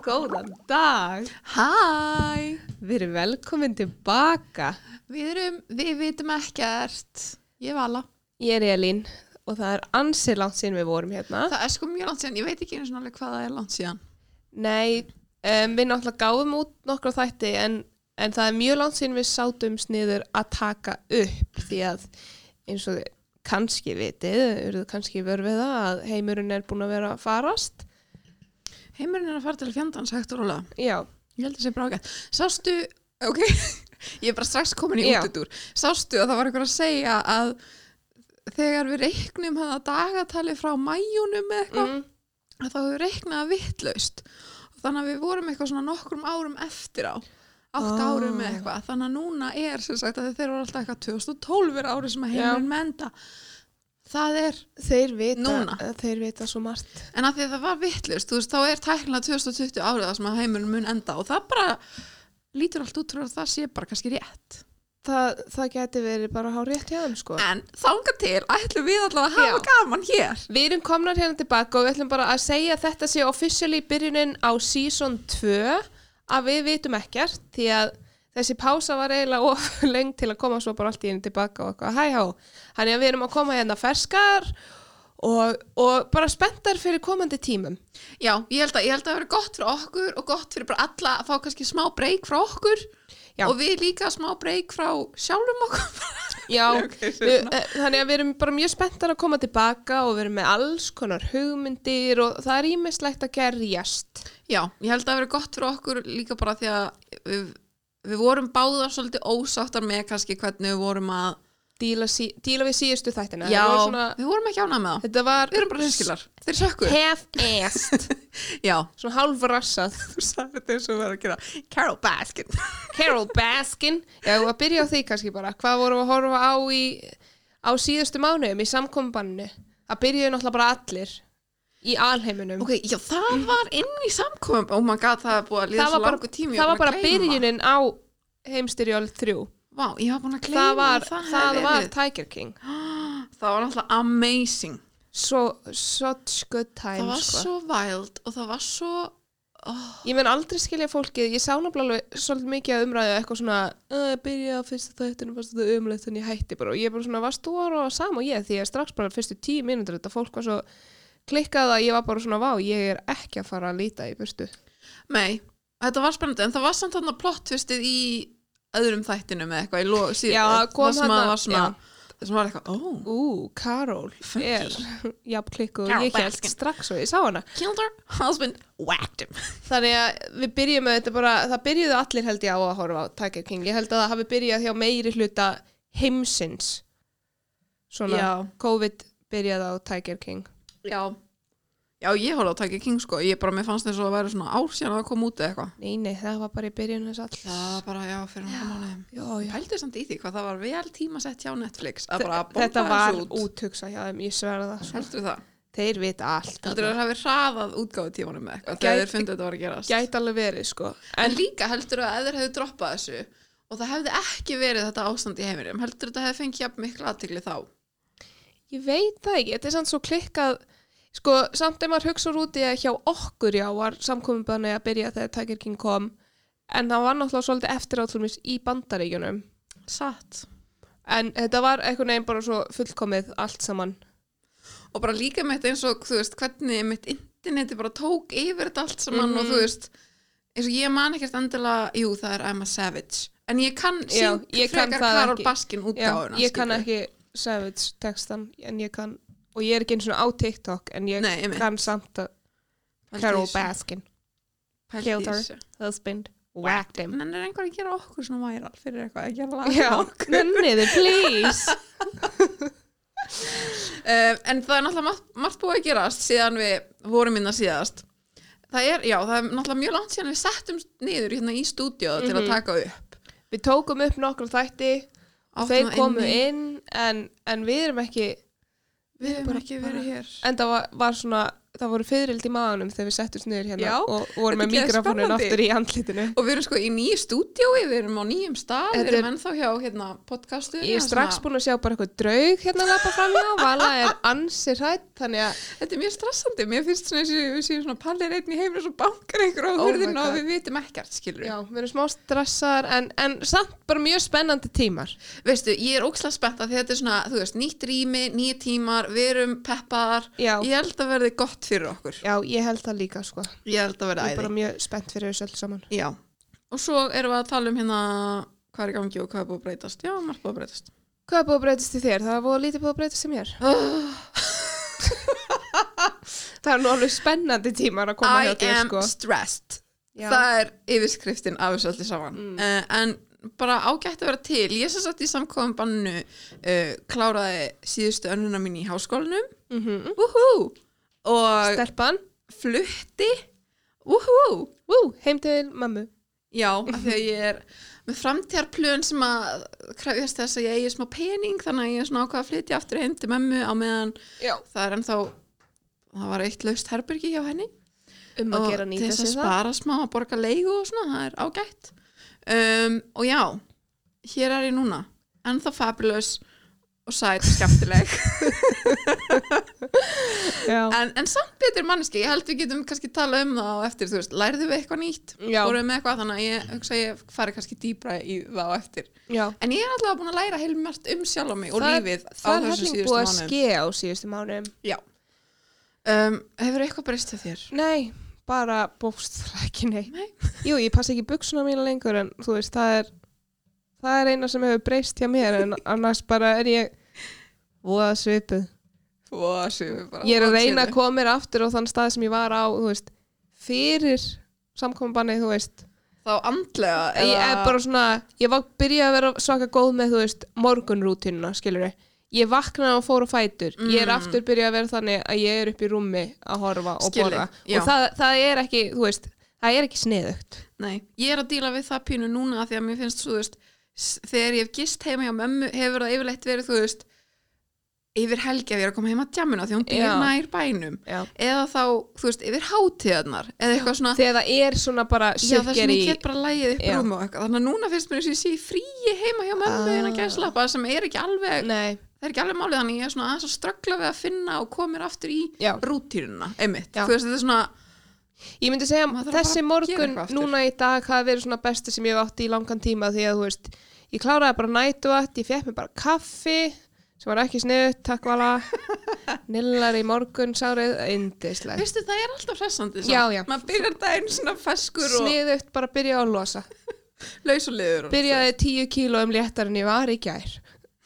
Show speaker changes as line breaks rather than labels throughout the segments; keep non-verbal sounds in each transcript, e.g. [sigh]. Góðan dag,
Hæ,
við erum velkomin tilbaka.
við erum, við vitum ekkert, ég vala.
Ég er Elín og það er ansið langt síðan við vorum hérna.
Það er sko mjög langt síðan, ég veit ekki einu svona alveg hvað það er langt síðan.
Nei, um, við náttúrulega gáfum út nokkru þætti en, en það er mjög langt síðan við sátum sniður að taka upp því að eins og þið kannski vitið, eruðu kannski vörfið það að heimurinn er búin að vera að farast.
Heimurinn er að fara til fjandans hægt og rólega,
Já,
ég held að sé brákað. Sástu, ok, [laughs] ég er bara strax komin í
Já.
útutúr, sástu að það var einhver að segja að þegar við reiknum hana dagatali frá mæjunum eða eitthvað,
mm,
að þá hefur reiknað vittlaust og þannig að við vorum eitthvað svona nokkrum árum eftir á átt
Ah.
árum eða eitthvað þannig að núna er sem sagt að þeir voru alltaf eitthvað 2012 er árið sem að heimurinn menda það er,
þeir vita,
Núna.
þeir vita svo margt.
en að því að það var vittlaust þú veist, þá er tæknilega 2020 árið það sem að heimurinn mun enda og það bara lítur allt út frá að það sé bara kannski rétt
Það, það geti verið bara að há rétt hjá þeim sko.
en þanga til ætlum við allavega að hafa
Já.
gaman hér
Við erum komnar hérna tilbaka og við ætlum bara að segja að þetta sé officially byrjunin á season 2 að við vitum ekkert því að þessi pása var eiginlega of [laughs] leng til að koma svo bara allt í henni tilbaka og eitthvað hæ há. Þannig að við erum að koma hérna ferskar og, og bara spenntar fyrir komandi tímum.
já, ég held að ég held að það verið gott fyrir okkur og gott fyrir bara alla að fá kannski smá breyk frá okkur
Já.
og við líka smá breyk frá sjálfum okkur [laughs]
Já,
ok,
við, eh, þannig að við erum bara mjög spenntar að koma tilbaka og við erum með alls konar hugmyndir og það er ímislegt að gerjast.
já, ég held að það verið gott fyrir okkur líka bara því að við, við vorum báðar svolítið ósáttar með kannski hvernig við vorum að
Díla, sí, díla við síðustu þættina.
já,
Þetta var svona-
við vorum ekki ánað með það
Þetta var
við erum bara hinskilar, þeir sökku
half-assed
já,
svona halvrassað
þú sagði þetta eins og verið að gera Carol Baskin
Carol Baskin já, við að byrja á því kannski bara hvað vorum við að horfa á í á síðustu mánuðum í samkombannu það byrjuði náttúrulega bara allir í alheiminum
ok, já, það var inn í samkomum oh my god, það var búið að líða
það
svo
var bara,
langu tími ég
það
var
var bara
búin að gleyma.
byrjunin á heimstyrjöld 3
Vá, ég var búin að gleyma
það var,
að
það
hefði
var
verið.
Tiger King
það var náttúrulega amazing
so, such good
það
time
var
sko.
svo wild og það var svo oh,
ég menn aldrei skilja fólkið ég sá náttúrulega alveg svolítið mikið að umræðu eitthvað svona, "Eh, byrja á fyrsta þættinu fannst þetta umlegt en ég hætti bara og ég bara svona, varst þú að horfa saman og ég því að strax bara fyrstu tíu mínútur þetta fólk var svo klikkað að ég var bara svona vá, ég er ekki að fara að líta í burtu
nei, þetta var spennandi en það var samt hann að plottfustið í öðrum þættinum eða eitthvað í lóð
Já, það kom
sem
þarna-
að var svona það sem var eitthvað, "Oh, ó,
Ú, Karol er jafn klikkuð og
Carol
ég held
Baskin.
strax og ég sá hana
killed her husband, whacked him
Þannig að við byrjum með þetta bara, það byrjuðu allir held ég á að horfa á Tiger King. Ég held að það hafi byrjað hjá meiri hluta heimsins. Svona,
Já.
COVID byrjaði á Tiger King.
já, já, ég horfði á Tiger King sko, ég bara, mér fannst þess að það væri svona ár síðan að það kom út eða eitthvað
Nei, nei, það var bara í byrjun þess alls.
það var bara, já, fyrir hann mánuðum
Já, já.
Pældu samt í því hvað það var vel tímasett hjá Netflix að bara
Þe-
bomba
Þetta
þessu
var
út.
útugsa hjá þeim, ég sverða það. Svo.
Heldur það?
Þeir vita allt.
Heldur það hafi hraðað útgáðu tímanum með eitthvað
Gæti-
þegar þeir fundið þetta var að gerast?
Gæti alveg verið, sko.
En líka heldur það að ef þeir hefðu droppað þessu og það hefði ekki verið þetta ástand í heiminum, heldur þetta hefði fengið jafn mikla aðtikli þá?
Ég veit það ekki, þetta er samt svo klikkað sko, samt ef maður hugsa út í að hjá okkur já var samkominbanni að byrja þegar Tiger King kom en það var náttúrulega svolítið eftir átlumis í bandaríkjunum
Satt.
en þetta var einhvern veginn bara svo fullkomið allt saman
Og bara líka með þetta eins og, þú veist, hvernig mitt interneti bara tók yfir þetta allt saman
Mhm.
og þú veist, eins og ég man ekkert endilega, jú, það er I'm a Savage. En ég kann
Já,
syng
ég kann
frekar
það
Karol
ekki.
Baskin útgáðuna.
ég kann ekki Savage textan en ég kann, og ég er ekki eins og á TikTok en ég
Nei, einmitt.
kann samt að Carol Baskin, Killed her. husband, whacked
[laughs]
him
En er einhver að gera okkur svona væral fyrir eitthvað að gera lag?
Já, nenniði, please
Um, en það er náttúrulega margt, margt búið að gerast síðan við vorum innan síðast. Það er, já, það er náttúrulega mjög langt síðan við settum niður hérna í stúdíu til
Mhm.
að taka upp.
Við tókum upp nokkra þætti og
Áttum
þeir
það
komu
inni.
inn en, en við erum ekki
Við hefum
bara-
ekki verið hér.
en það var, var svona það voru fyririldi í maðanum þegar við settumst niður hérna
Já,
og vorum með
þetta er
mikrofonin
spennandi.
aftur í andlitinu.
Og við erum sko í nýju stúdíói, við erum á nýjum stað,
Þetta
við erum ennþá hjá hérna, podcastu.
Ég er strax búin að sjá bara eitthvað draug hérna að lappa fram hjá, Vala er ansi hrætt, þannig að
Þetta er mjög stressandi, mér finnst svona eins og við séum svona pallir einn í heimlis og bankar einhver á
Oh my
hurðinu
God.
og við vitum ekkert, skilur
já, við erum smá stressaðar en, en samt bara mjög spennandi tímar.
Veistu, ég er ókslega spennt að þetta er svona, þú veist, nýtt rými, nýja tímar, við erum peppaðar.
Já.
Ég held að verði gott fyrir okkur.
Já, ég held það líka sko.
Ég held að verði
Ég
æði.
er bara mjög spennt fyrir þessu öll saman.
Já. Og svo erum við að tala um hérna hvað er í gangi og hvað er búið að breytast. Já, margt búið að breytast.
Hvað er búið að breytast í þér? Það er búið að lítið búið að breytast í mér.
Ah.
[laughs] það er nú alveg spennandi tímar að koma
I
hjá þér
am
sko.
stressed.
Já.
Það er yfirskriftin af þessu allir saman. Eh, en bara ágætt að vera til. Ég sem sagt í samkofum bannu eh, kláraði síðustu önnuna mín í háskólanum.
Mm
Mhm.
-hmm.
Woohoo! Og
Stelpan,
flutti. Woohoo!
Ú, heim til mammu.
Já, af því að ég er með framtíðarplön sem að krefjast þess að ég eigi smá pening þannig að ég er svona ákvað að flytja aftur heim til mömmu á meðan
Já.
það er ennþá það var eitt laust herbergi hjá henni
Um að
og
gera
til
nýta
þess að
sig það.
spara smá að borga leigu og svona, það er ágætt um, og já, hér er ég núna ennþá fabulous og sæt og
[laughs]
skemmtileg
Já.
en, en samt betur manneski, ég held við getum kannski tala um það á eftir, þú veist, lærðu við eitthvað nýtt
Já.
fórum við með eitthvað, þannig að ég hugsa að ég fari kannski dýbra í það á eftir
Já.
En ég er alltaf búin að læra heilmert um sjálf á mig og
Það er-
lífið á
Það er
þessu
helling
síðustu
búið að
mánuðum.
ske á síðustu mánuðum.
Já. Um, hefur eitthvað breyst hjá þér?
Nei, bara bókst það ekki nei.
Nei.
Jú, ég passa ekki buksuna mína lengur en þú veist, það er það er eina sem hefur breyst hjá mér en annars bara er ég voða svipuð.
Vá, séu bara.
Ég er að
vá,
reyna að
séu.
koma mér aftur á þann stað sem ég var á, þú veist, fyrir samkombannið, þú veist.
Þá andlega
Ég er bara svona, ég var byrjað að vera svaka góð með, þú veist, morgunrútínuna, skilur ég. Ég vaknaði og fór á fætur. Ég er
Mm.
aftur byrjað að vera þannig að ég er upp í rúmi að horfa og
Skil þig,
borða.
já.
Og það, það er ekki, þú veist, það er ekki sniðugt.
Nei, ég er að díla við það pínu núna af því að mér finnst, þú veist, s- þegar ég hef gist heima hjá mömmu hefur það yfirleitt verið, þú veist, yfir helgi að ég er að koma heima að djamuna því hún býr
Já.
nær bænum.
Já.
Eða þá, þú veist, yfir hátíðarnar eða eitthvað svona
þegar það er svona bara
Já, það sem
sirkir í
ég get bara lægið upp
Já.
rúm og eitthvað. Þannig að núna finnst mér þess að ég sé í fríi heima hjá mömmu
Ah.
innan gæslappa sem er ekki alveg,
Nei,
það er ekki alveg málið þannig að ég er svona aðeins að ströggla við að finna og koma mér aftur í
Já.
rútíruna, einmitt.
Já.
Þú veist, þetta er svona,
ég myndi segja
Maður þarf bara
þessi
að gera
morgun
eitthvað aftur.
núna í dag hafa verið svona besta sem ég hef átt í langan tíma því að þú veist, ég kláraði bara nætuvætt ég fekk mér bara kaffi sem var ekki sniðut, takk
[laughs]
vala nillar í morgun, sárið indislegt,
veistu, það er alltaf hressandi.
Já, já.
Maður byrjar daginn svona feskur
sniðut bara byrja að losa
og laus og liður. og-
byrjaði tíu kílóum léttar en ég var í gær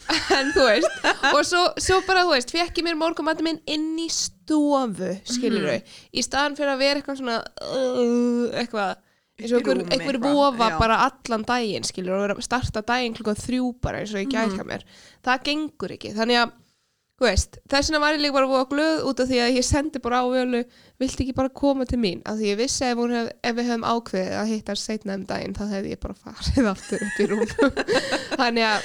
[laughs] en þú veist og svo, svo bara þú veist, fekk ég mér morgumatum minn inn í stofu skilur
Mhm.
þau, í staðan fyrir að vera eitthvað svona uh, eitthvað eins og
Upp í
einhver,
rúmi
einhver
eitthvað,
vofa
já.
bara allan daginn skilur og vera að starta daginn klukkan þrjú bara eins og ég gæt
Mhm.
hjá mér, það gengur ekki þannig að þú veist, þess vegna var ég líka bara búið að glöð út af því að ég sendi bara á völu viltu ekki bara koma til mín af því ég vissi ef, hún hef, ef við hefum ákveðið að hittast seinna um daginn þá hefði ég bara farið [laughs] aftur upp í rúm þannig að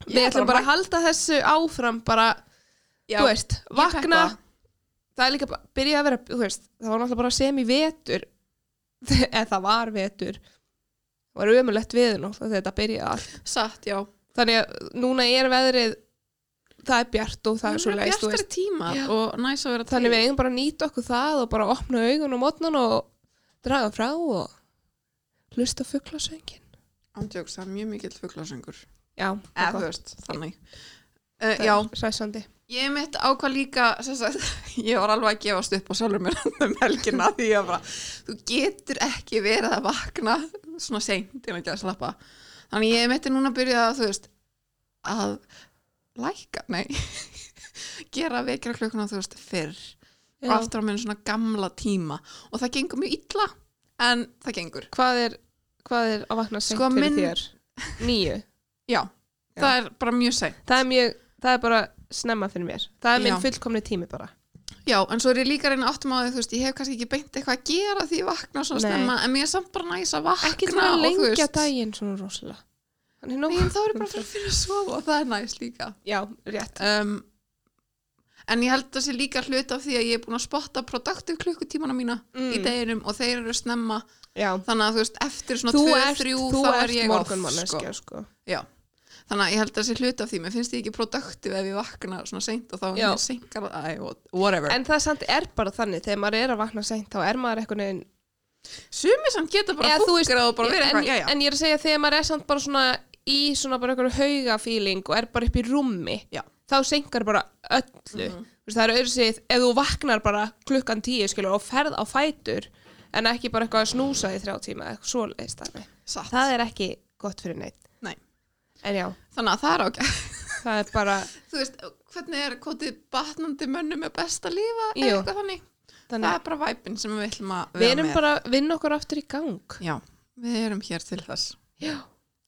við
Ég
ætlum
bara
bara að halda þessu áfram bara,
Já,
þú veist,
ég
vakna
peppa.
það er líka bara, byrja að vera þú veist, það var náttúrulega bara sem í vetur [laughs] eða það var vetur það var umulett við náttúrulega þegar þetta byrjaði allt
Satt, já.
þannig að núna er veðrið það er bjart og það er svo
eru
leist
bjartari tímar
Já.
og næs að vera til.
Þannig við eigum bara að nýta okkur það og bara opna augun og mótnan og draga frá og hlusta fugglasöngin.
Ándjóks, það er mjög mikill fuglasöngur.
Já,
Eða, þú
það
veist, þannig. Uh,
er
já,
Sæsandi.
Ég mitt ákvað líka, sem sagt, [laughs] ég var alveg að gefast upp á sjálfur mér [laughs] um helgina því að bara, þú getur ekki verið að vakna svona seint en ekki að slappa. Þannig ég mitt er núna að byrja að, þú veist, að læka, nei, [laughs] gera vekjara klukkuna, þú veist, fyrr og
Já.
aftur á minn svona gamla tíma og það gengur mjög illa en það gengur.
Hvað er, hvað er að vakna seint
Sko,
fyrir
minn-
þér? Nýju.
Já,
Já.
það er bara mjög seint.
Það er, mjög, það er bara snemma fyrir mér. Það er minn
Já.
fullkomni tími bara.
Já, en svo er ég líka að reyna að áttum á því, þú veist, ég hef kannski ekki beint eitthvað að gera því ég vakna svona
Nei.
stemma, en mér er samt bara næs að vakna
Ekki til að
og þú
lengja
veist,
daginn svona rosalega. Þannig nú.
Nei, en þá er ég bara fyrir að finna að sofa og það er næs líka.
Já, rétt.
Um, en ég held að það sé líka hlut af því að ég er búin að spotta produktiv klukkutímana mína
Mm.
í deginum og þeir eru snemma
já.
þannig að þú veist, eftir svona
Þú
2-3
ert, þú
þá er
ert
ég off sko.
morgunmanneskja, sko.
Já, þannig að ég held að það sé hlut af því mér finnst ég ekki produktiv ef ég vakna svona seint og þá er
Já.
ég seinkar æ, whatever,
En það samt er bara þannig, þegar maður er að vakna seint, þá er maður eitthvað neginn
sumi samt geta bara
Eða þú veist-
fúkra og bara verið
en,
eitthvað, já, já,
en ég er að segja þegar maður er samt bara svona í svona bara eitthvað haugafíling og er bara upp í rúmi
Já. Mhm.
þá senkar bara öllu mm það eru öðru sig ef þú vaknar bara klukkan tíu skilur og ferð á fætur en ekki bara eitthvað að snúsa í þrjá tíma eða eitthvað svoleiðis dæmi
satt
það er ekki gott fyrir neitt
Nei.
en já,
þannig að það er ágæð
það er bara
[laughs] þú veist, hvernig er kotið batnandi mönnum með besta lífa
Jú.
eða eitthvað þannig, það
þannig,
er bara væpin sem við ætlum
við
að vera
erum
með
bara að vinna okkur aftur í gang
já, við erum hér til þess
já,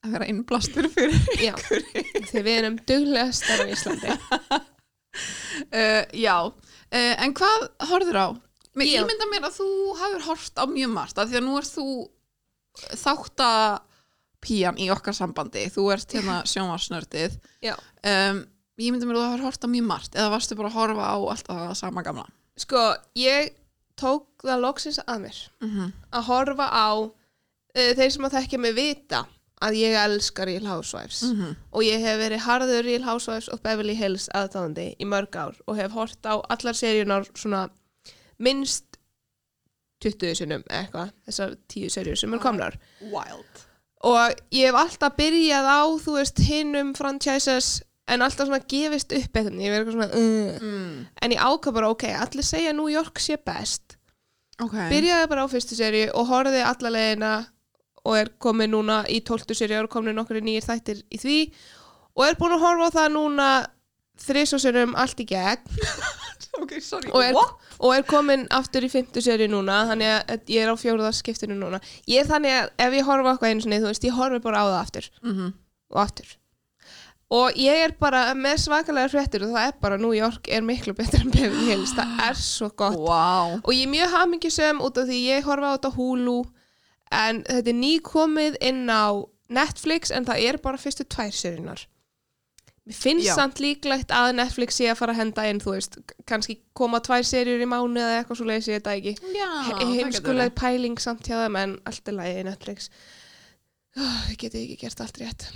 að vera innblástur fyrir
já.
[laughs]
því við erum duglega starf í Íslandi
uh, já, uh, en hvað horfður á? Mér
Já.
ímynda mér að þú hafur horft á mjög margt af því að nú er þú þátt að pían í okkar sambandi þú ert hérna sjónvarsnördið
já
um, ég ímynda mér að þú hafur horft á mjög margt eða varstu bara að horfa á alltaf það sama gamla
Sko, ég tók það loksins að mér
mm -hmm.
að horfa á uh, þeir sem að þekkja mig vita að ég elska Real Housewives
Mm.
og ég hef verið harður Real Housewives og Beverly Hills aðdáðandi í mörg ár og hef hort á allar seríunar svona minnst 20 sinnum eða eitthvað, þessar 10 serjur sem er komnar
wild
og ég hef alltaf byrjað á þú veist hinnum franchises en alltaf svona gefist upp eitthvað ég verið eitthvað svona uh.
mm.
en ég ákvað bara ok, allir segja að New York sé best
ok,
byrjaði bara á fyrstu seri og horfði alla leiðina og er komið núna í tóltu seri og er komið nokkru nýjir þættir í því og er búin að horfa á það núna þrisvasunum allt í gegn
ok, sorry
og er, og er komin aftur í fymtu seri núna þannig að ég er á fjóruðarskiptinu núna ég er þannig að ef ég horfa á eitthvað einu sinni þú veist, ég horfi bara á það aftur
mm -hmm.
og aftur og ég er bara með svakalega fréttir og það er bara New York er miklu betra en Beverly Hills, það er svo gott
wow.
og ég er mjög hamingjusum út af því ég horfa á þetta húlu en þetta er nýkomið inn á Netflix en það er bara fyrstu tvær seriunar mér finnst
Já.
samt líklegt að Netflix sé að fara að henda inn þú veist, k- kannski koma tvær serjur í mánu eða eitthvað svo leiðis ég þetta ekki
já,
He- sko, heimskuleg pæling samt hjá þeim en allt er lagið í Netflix oh, ég geti ekki gert allt rétt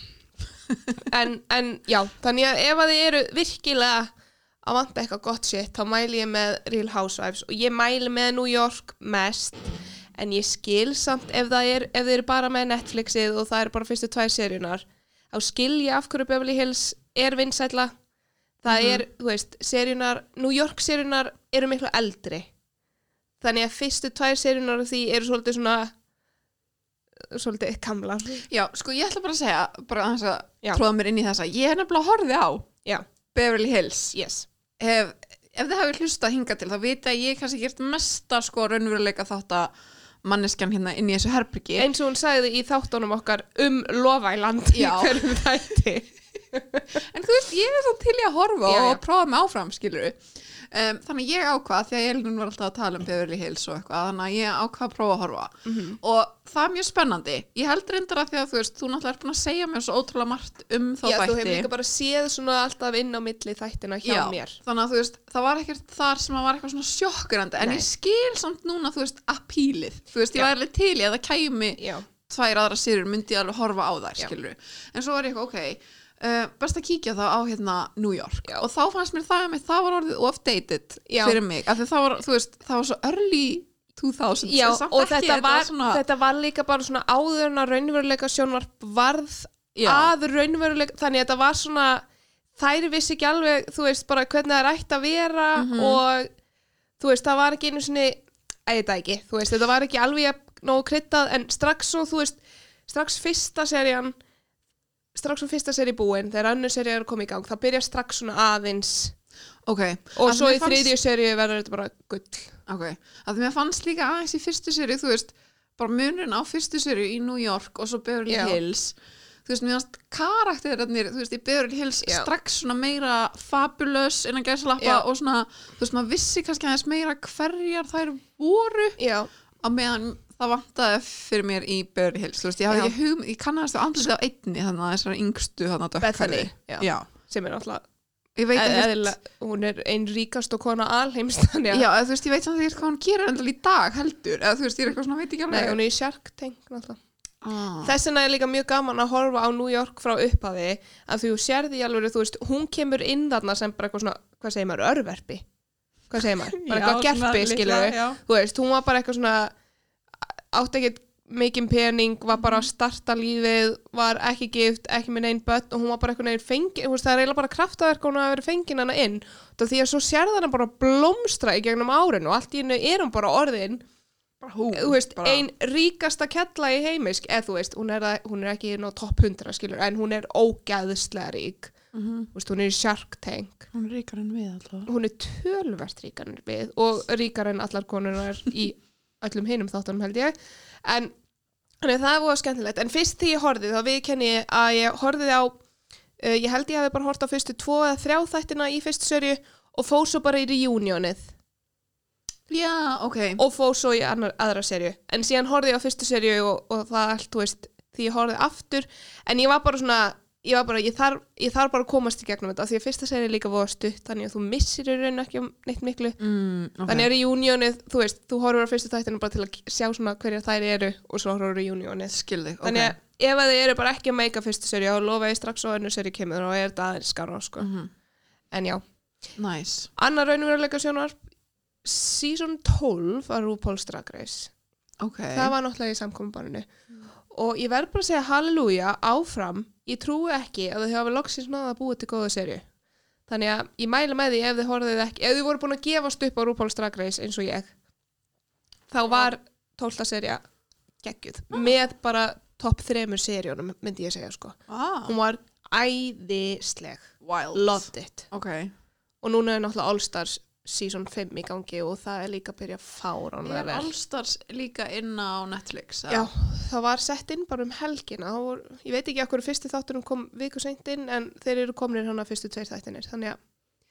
en, en já þannig að ef að þið eru virkilega að vanta eitthvað gott shit þá mæli ég með Real Housewives og ég mæli með New York mest en ég skil samt ef það er ef þið eru bara með Netflixið og það eru bara fyrstu tvær seríunar þá skil ég af hverju Beverly Hills er vinsætla það er, þú veist, seríunar New York seríunar eru miklu eldri þannig að fyrstu tvær seríunar af því eru svolítið svona svolítið kamlar
já, sko ég ætla bara að segja bara aðeins
Já.
að tróða mér inn í þessa ég er nefnilega horfið á
já,
Beverly Hills
yes
ef, ef þið hafið hlustað hingað til þá vita að ég kannski gert mesta sko raunveruleika þátt að manneskjan hérna inn í þessu herbyggi
eins og hún sagði í þáttunum okkar um Lovæland í
Já.
hverjum þætti
en þú veist, ég er svo til í að horfa
Já,
og
já.
prófa mig áfram, skilur um, þannig að ég ákvað, því að Elin var alltaf að tala um Beverly Hills og eitthvað, þannig að ég ákvað að prófa að horfa
Mhm.
og það er mjög spennandi ég held reyndar að því að þú veist, þú náttúrulega er búin að segja mér svo ótrúlega margt um þá
já, þú hefur
þætti
líka bara séð svona alltaf inn á milli þættina hjá mér
þannig að þú veist, það var ekkert þar sem að var eitthvað svona sjokkurandi, en
Nei.
ég skil samt núna, þú veist, apílið, þú veist, ég
Já.
væri alveg til í að það kæmi
já,
tvær aðra sérur, myndi ég alveg horfa á þær,
Já.
skilur en svo var ég eitthvað, ok, uh, best að kíkja þá á hérna New York, og þá fannst mér það að það var orðið off-dated
Já.
fyrir mig, af því það var, þú veist, það var svo early 2000,
já
samt
og
ekki,
þetta var,
svona,
þetta var líka bara svona áður en að raunveruleika sjónvarp varð
Já.
að raunveruleika þannig að þetta var svona þær vissi ekki alveg, þú veist, bara hvernig það er ætt að vera
Mhm.
og þú veist, það var ekki einu sinni að þetta ekki, þú veist, þetta var ekki alveg jafn nógu kryddað en strax svo, þú veist strax fyrsta serían strax svo fyrsta seri búin, þegar önnur seri er að koma í gang, það byrja strax svona aðeins
ok,
og
Að
svo
mér
í þriðju seri verður þetta bara gull
Ok, að því mér fannst líka aðeins í fyrstu seri, þú veist, bara munurinn á fyrstu seri í New York og svo Beverly
Já.
Hills, þú veist, mér fannst karakterarnir, þú veist, í Beverly Hills
Já.
strax svona meira fabulous innan
Já.
gæslappa og svona, þú veist, maður vissi kannski aðeins meira hverjar þær voru
já,
á meðan það vantaði fyrir mér í Beverly Hills, þú veist, ég
Já.
hafði ekki hugum, ég kannast á andlitið á einni þannig að þessara yngstu þannig að
Bethany, já.
Já,
sem er alltaf
ég veit ekkert-
Eðlilega, hún er einn ríkast og kona alheimst þannig að
Já, eða þú veist, ég veit samt ekki hvað hún gerir endal í dag heldur, eða þú veist, ég er eitthvað svona, veit ekki
Nei,
alveg
hún er í Shark Tank náttúrulega.
ah.
Þess vegna er líka mjög gaman að horfa á New York frá upphafi að þú sérði í alveg, þú veist, hún kemur inn þarna sem bara eitthvað svona, hvað segir maður, örverpi hvað segir maður,
[laughs]
bara eitthvað gerpi skilur við,
Já,
þú veist, hún var bara eitthvað svona átt ekkert mikinn pening, var bara
Mhm.
að starta lífið var ekki gift, ekki með neinn börn og hún var bara eitthvað neginn fengin, þú veist, það er eiginlega bara kraftaverk og hún að vera fengin hana inn Út af því að svo sérði hana bara blómstra í gegnum árin og allt í hennu er hún bara orðin
bara hú,
þú veist,
bara,
ein ríkasta kella í heimisk, eða þú veist, hún er, að, hún er ekki inn á topp 100 skilur, en hún er ógæðslega rík,
Mhm.
þú veist, hún er í Shark Tank
Hún er ríkar en við alltaf
hún er tölvert ríkar en við og ríkar en allar konunar í öllum hinum þáttunum held ég en þannig að það var skemmtilegt en fyrst því ég horfði þá viðkenni ég að ég horfði á uh, ég held ég hafi bara horfði á fyrstu tvo eða þrjá þættina í fyrstu sörju og fóð svo bara í reunionið
Já, ok
og fóð svo í annar, aðra serju en síðan horfði ég á fyrstu serju og, og það allt, þú veist, því ég horfði aftur en ég var bara svona, ég var bara ég þarf, ég þarf bara að komast í gegnum þetta af því að fyrsta serju er líka voða stutt, þannig að þú missir í raun ekki um neitt miklu,
mm, okay.
þannig að í júniónið þú veist, þú horfur á fyrstu þættinu bara til að sjá svona hverjar þær eru og svo horfur í júniónið
Skil þig, ok
þannig að ef að þið eru bara ekki að meika fyrstu serju þá lofa ég strax og önnur serju kemur og er þetta aðeins skara sko.
Mhm.
en já,
Nice
annar raunveruleika sjónvarp season 12 var RuPaul's Drag Race
Ok,
það var náttúrulega í samkominbarinu og ég verð bara að segja halleluja áfram, ég trúi ekki að þau hafa loksins náða að búa til góða serju þannig að ég mæla með því ef þau horfðuð ekki, ef þau voru búin að gefast upp á RuPaul's Drag Race eins og ég þá var 12. serja geggjuð, með bara topp þremur serjónum myndi ég segja sko
ah,
hún var æðisleg
Wild
loved it
Ok,
og núna er náttúrulega All Stars season 5 í gangi og það er líka að byrja fáránlega
er
vel.
allstars líka inn á Netflix eða?
Já, það var sett inn bara um helgina það voru, ég veit ekki okkur fyrsti þátturum kom viku seint inn en þeir eru komnir hana fyrstu tveir þættinir þannig að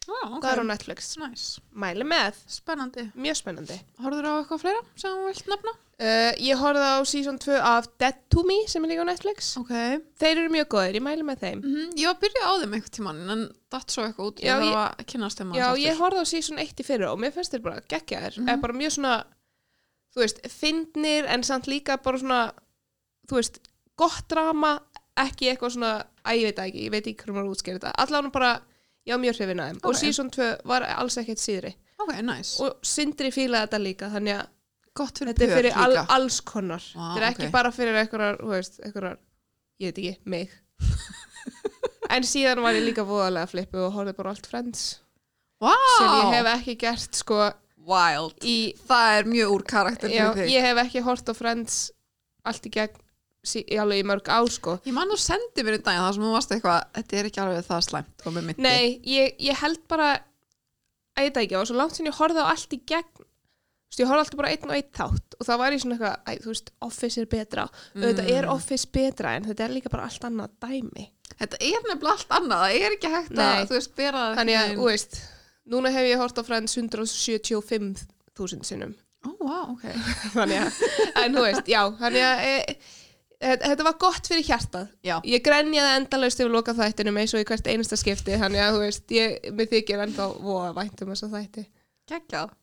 ah, ok
það er á Netflix
Nice,
Mæli með,
spennandi
mjög spennandi
Horður á eitthvað fleira sem hún vilt nefna?
uh, Ég horfði á season 2 af Dead to Me sem er líka á Netflix
Ok
Þeir eru mjög góðir, ég mæli með þeim
mm Ég var að byrja á þeim einhvern tímann en datt svo eitthvað út
Já,
Ég
ég-
þarf að kynnast þeim
Já,
aðeins aftur.
ég horfði á season 1 í fyrra og mér finnst þeir bara geggjaðir mm
Mhm.
er bara mjög svona, þú veist, fyndnir en samt líka bara svona þú veist, gott drama ekki eitthvað svona, að ég veit það ekki ég veit ekki hvernig maður útskýrir þetta, allan bara ég var mjög hrifin að þeim og
Ok.
season 2 var alls ekkert síðri
Ok, nice.
og Sindri fílaði þetta líka þannig að
gott fyrir
þetta er fyrir al,
líka.
alls konar
Vá,
þetta er ekki
ok.
bara fyrir einhverjar, þú veist, einhverjar ég veit ekki,
[laughs]
mig en síðan var ég líka voðalega flippu og horfði bara á allt friends
wow.
sem ég hef ekki gert sko
Wild.
í,
Það er mjög úr karakter
já,
fyrir þig.
ég hef ekki hort á friends allt í gegn sí, í alveg í mörg á sko
Ég man þú sendið mér í daginn þar sem þú varst eitthvað, þetta er ekki alveg það slæmt og með myndi.
Nei, ég, ég held bara að ég það ekki, og svo langt sem ég horfði á allt í gegn þú veist, ég horfði alltaf bara einn og einn þátt og það var ég svona eitthvað, æ, þú veist, Office er betra auðvitað
Mm.
er Office betra en þetta er líka bara allt annað dæmi
Þetta er nefnilega allt annað, það er ekki hægt
Nei.
að, þú veist, bera það.
þannig að,
einhvern
þú veist, núna hef ég hort á Friends 175.000 sinnum
veginn- Ó, vá, ok.
[laughs] þannig að, en þú veist, já þannig að e, e, þetta var gott fyrir hjartað
Já.
ég grenjaði endalaust yfir loka þættinum eins og í hvert einasta skipti þannig að þú veist, ég, mér þykir ennþá voða vænt um þessa þætti
Geggjað.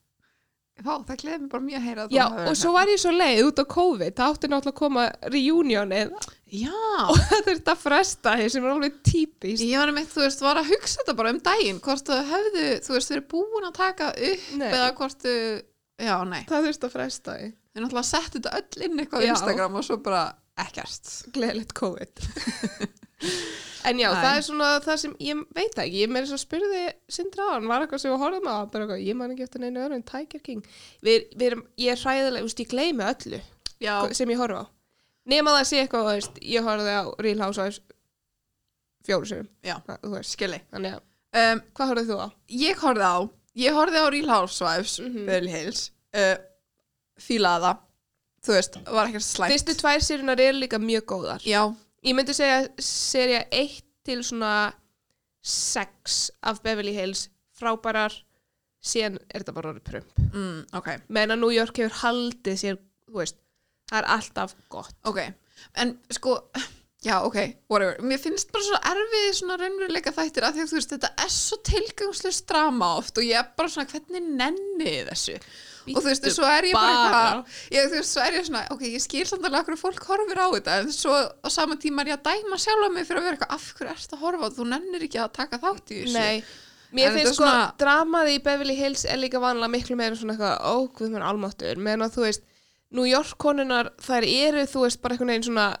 Vá, það gleði mér bara mjög að heyra að þú
já,
hafir verið
og svo
hérna.
var ég svo leið út á COVID það átti náttúrulega að koma reunionið [laughs]
hérna. Já,
og það þurfti að fresta því sem er alveg típist
ég var um þú veist, var að hugsa þetta bara um daginn, hvort þú hefðu, þú veist, verið búin að taka upp
Nei.
eða hvort þú, já, nei.
það þurfti að fresta því
Við náttúrulega settum þetta öll inn eitthvað á
Já.
Instagram og svo bara ekkert.
gleðilegt
[laughs]
COVID en já,
Æ.
það er svona það sem ég veit það ekki, ég meira svo spurði sindra á hann, var eitthvað sem ég horfði með á bara eitthvað, ég man ekki eftir neina öðru en Tiger King við, við erum, ég er hræðilega, úst, ég gleymi öllu
Já,
sem ég horfa á nema það sé eitthvað, þú veist, ég horfði á Real Housewives fjóru sérum,
Já.
þú veist
skilji.
þannig að,
Um,
hvað horfði þú á?
ég horfði á, ég horfði á Real Housewives, mm
Mhm.
-hmm. Beverly Hills, uh, fílaði það, þú veist, var ekkert slæmt.
fyrstu tvær sérjunar eru líka mjög góðar
Já,
ég myndi segja serja 1 til svona 6 af Beverly Hills frábærar síðan er þetta bara orðið prump
mm, ok,
meðan að New York hefur haldið sér þú veist, það er alltaf gott
ok. En sko, Já, ok, whatever. Mér finnst bara svo erfið svona raunveruleika þættir að því að þú veist, þetta er svo tilgangslust drama oft og ég er bara svona, hvernig nenni ég þessu? og þú veist,
Bíddu
svo er ég bara
bara.
eitthvað, ég, þú veist, svo er ég svona, ok, ég skil samt alveg okkur fólk horfir á þetta, en svo á sama tíma er ég að dæma sjálfa mig fyrir að vera eitthvað, af hverju ertu að horfa á þetta? þú nennir ekki að taka þátt í þessu.
Nei,
En
mér
þetta er
finnst sko
svona-
dramaði í Beverly Hills er líka vanlega miklu meira svona eitthvað ó, guð mér almáttur, meðan að þú veist New York konunar, þær eru þú veist bara einhvern veginn svona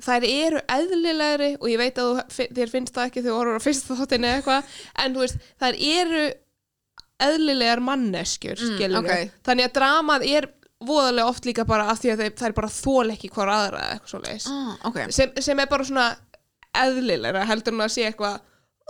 þær eru eðlilegri og ég veit að þú, þér finnst það ekki þegar þú horfur á fyrsta þáttin eða eitthvað, en þú veist þær eru eðlilegar manneskjur,
Mm,
skilur
ok.
þannig að dramað er voðalega oft líka bara af því að þeir, þær bara þól ekki hvar aðra eða eitthvað svo leis
Ah, ok,
sem, sem er bara svona eðlilegra heldur hún að sé eitthvað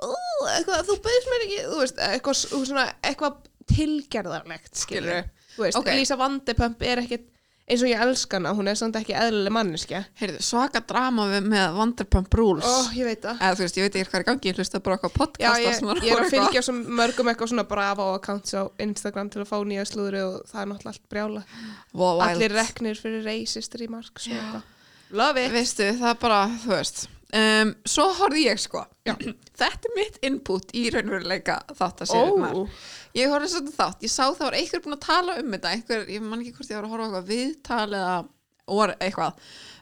"Ú, eitthvað, þú beðist mér ekki þú veist, eitthvað, s- svona, eitthvað tilgerðarlegt skilur þú veist,
Ok.
okay. Lisa Vandepump er ekkit eins og ég elska hana, hún er samt ekki eðlileg manneskja
heyrðu, svaka drama við- með Vanderpump Rules,
ó, ég veit það
eða þú veist, ég veit ekki hvað er í gangi, ég hlusta bara okkar podcast,
Oh. Já, ég, ég er að fylgja svo mörgum eitthvað svona bravo accounts á Instagram til að fá nýja slúðri og það er náttúrulega allt brjála
wow,
Allir reknir fyrir reisistur í mark svo eitthvað. Love it
Veistu, það er bara, þú veist um, Svo horfði ég sko
Já.
[clears throat] Þetta er mitt input í raunveruleika þátt að
Ó.
Ég horfði svolítið þátt, ég sá það var einhver búin að tala um þetta einhver, Ég man ekki hvort ég var að horfa á eitthvað viðtal eða or, eitthvað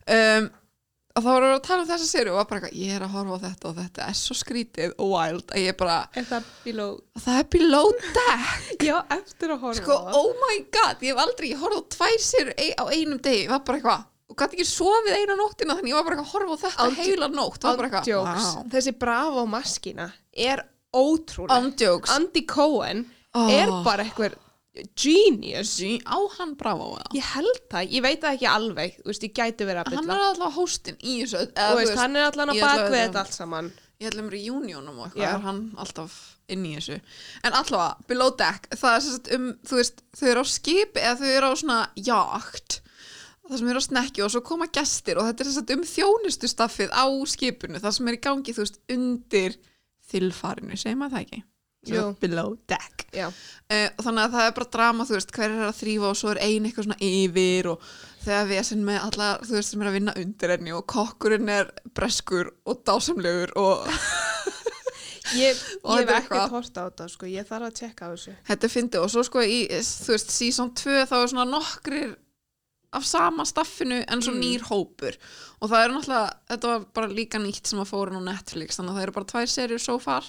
um, Og þá voru að tala um þessa séri og var bara eitthvað Ég er að horfa á þetta og þetta er svo skrítið og wild að ég bara
Er það below?
Það er below deck
Já, eftir að horfa
Sko,
á það.
oh my god, ég hef aldrei, ég horfði á tvær sér á einum degi, það var bara eitthvað og gæti ekki sofið eina nóttina þannig ég var bara eitthvað að horfa á þetta
Án-
heila nótt, það var bara eitthvað
Andjóks, þessi bravo maskina er ótrúlega
Andjóks
Andy Cohen
Oh.
er bara einhver genius
Andjóks Á hann bravo eða?
ég held það, ég veit það ekki alveg þú veist, ég gæti verið að
Hann
bylla
er alltaf hóstinn í þessu eða,
Þú
þú
veist, hann er allan á
ég ætla að
bakvið
vita.
þetta allt saman
ég ætlum reunionum og eitthvað,
Já.
er hann alltaf inn í þessu. En allavega, below deck, það er sérst um, þú veist, þau eru á skip eða þau eru á svona jakt, það sem eru á snekju og svo koma gestir og þetta er sérst um þjónustu staffið á skipinu, það sem er í gangi, þú veist, undir þilfarinu, segir maður það ekki?
Jú.
Below deck.
já,
Uh, og þannig að það er bara drama, þú veist, hver er að þrýfa og svo er ein eitthvað svona yfir og þegar við erum með alla, þú veist, sem er að vinna undir henni og kokkurinn er breskur og dásamlegur og
ég,
[laughs] Og
ég hef
þetta er
ekkert
eitthvað.
hort á þetta sko. ég þarf að tjekka á þessu
Þetta er fyndið og svo sko í, þú veist, season 2 þá er svona nokkrir af sama staffinu en svo
Mm.
nýr hópur og það er náttúrulega, þetta var bara líka nýtt sem að fóra nú Netflix, þannig að það eru bara tvær serjur so far,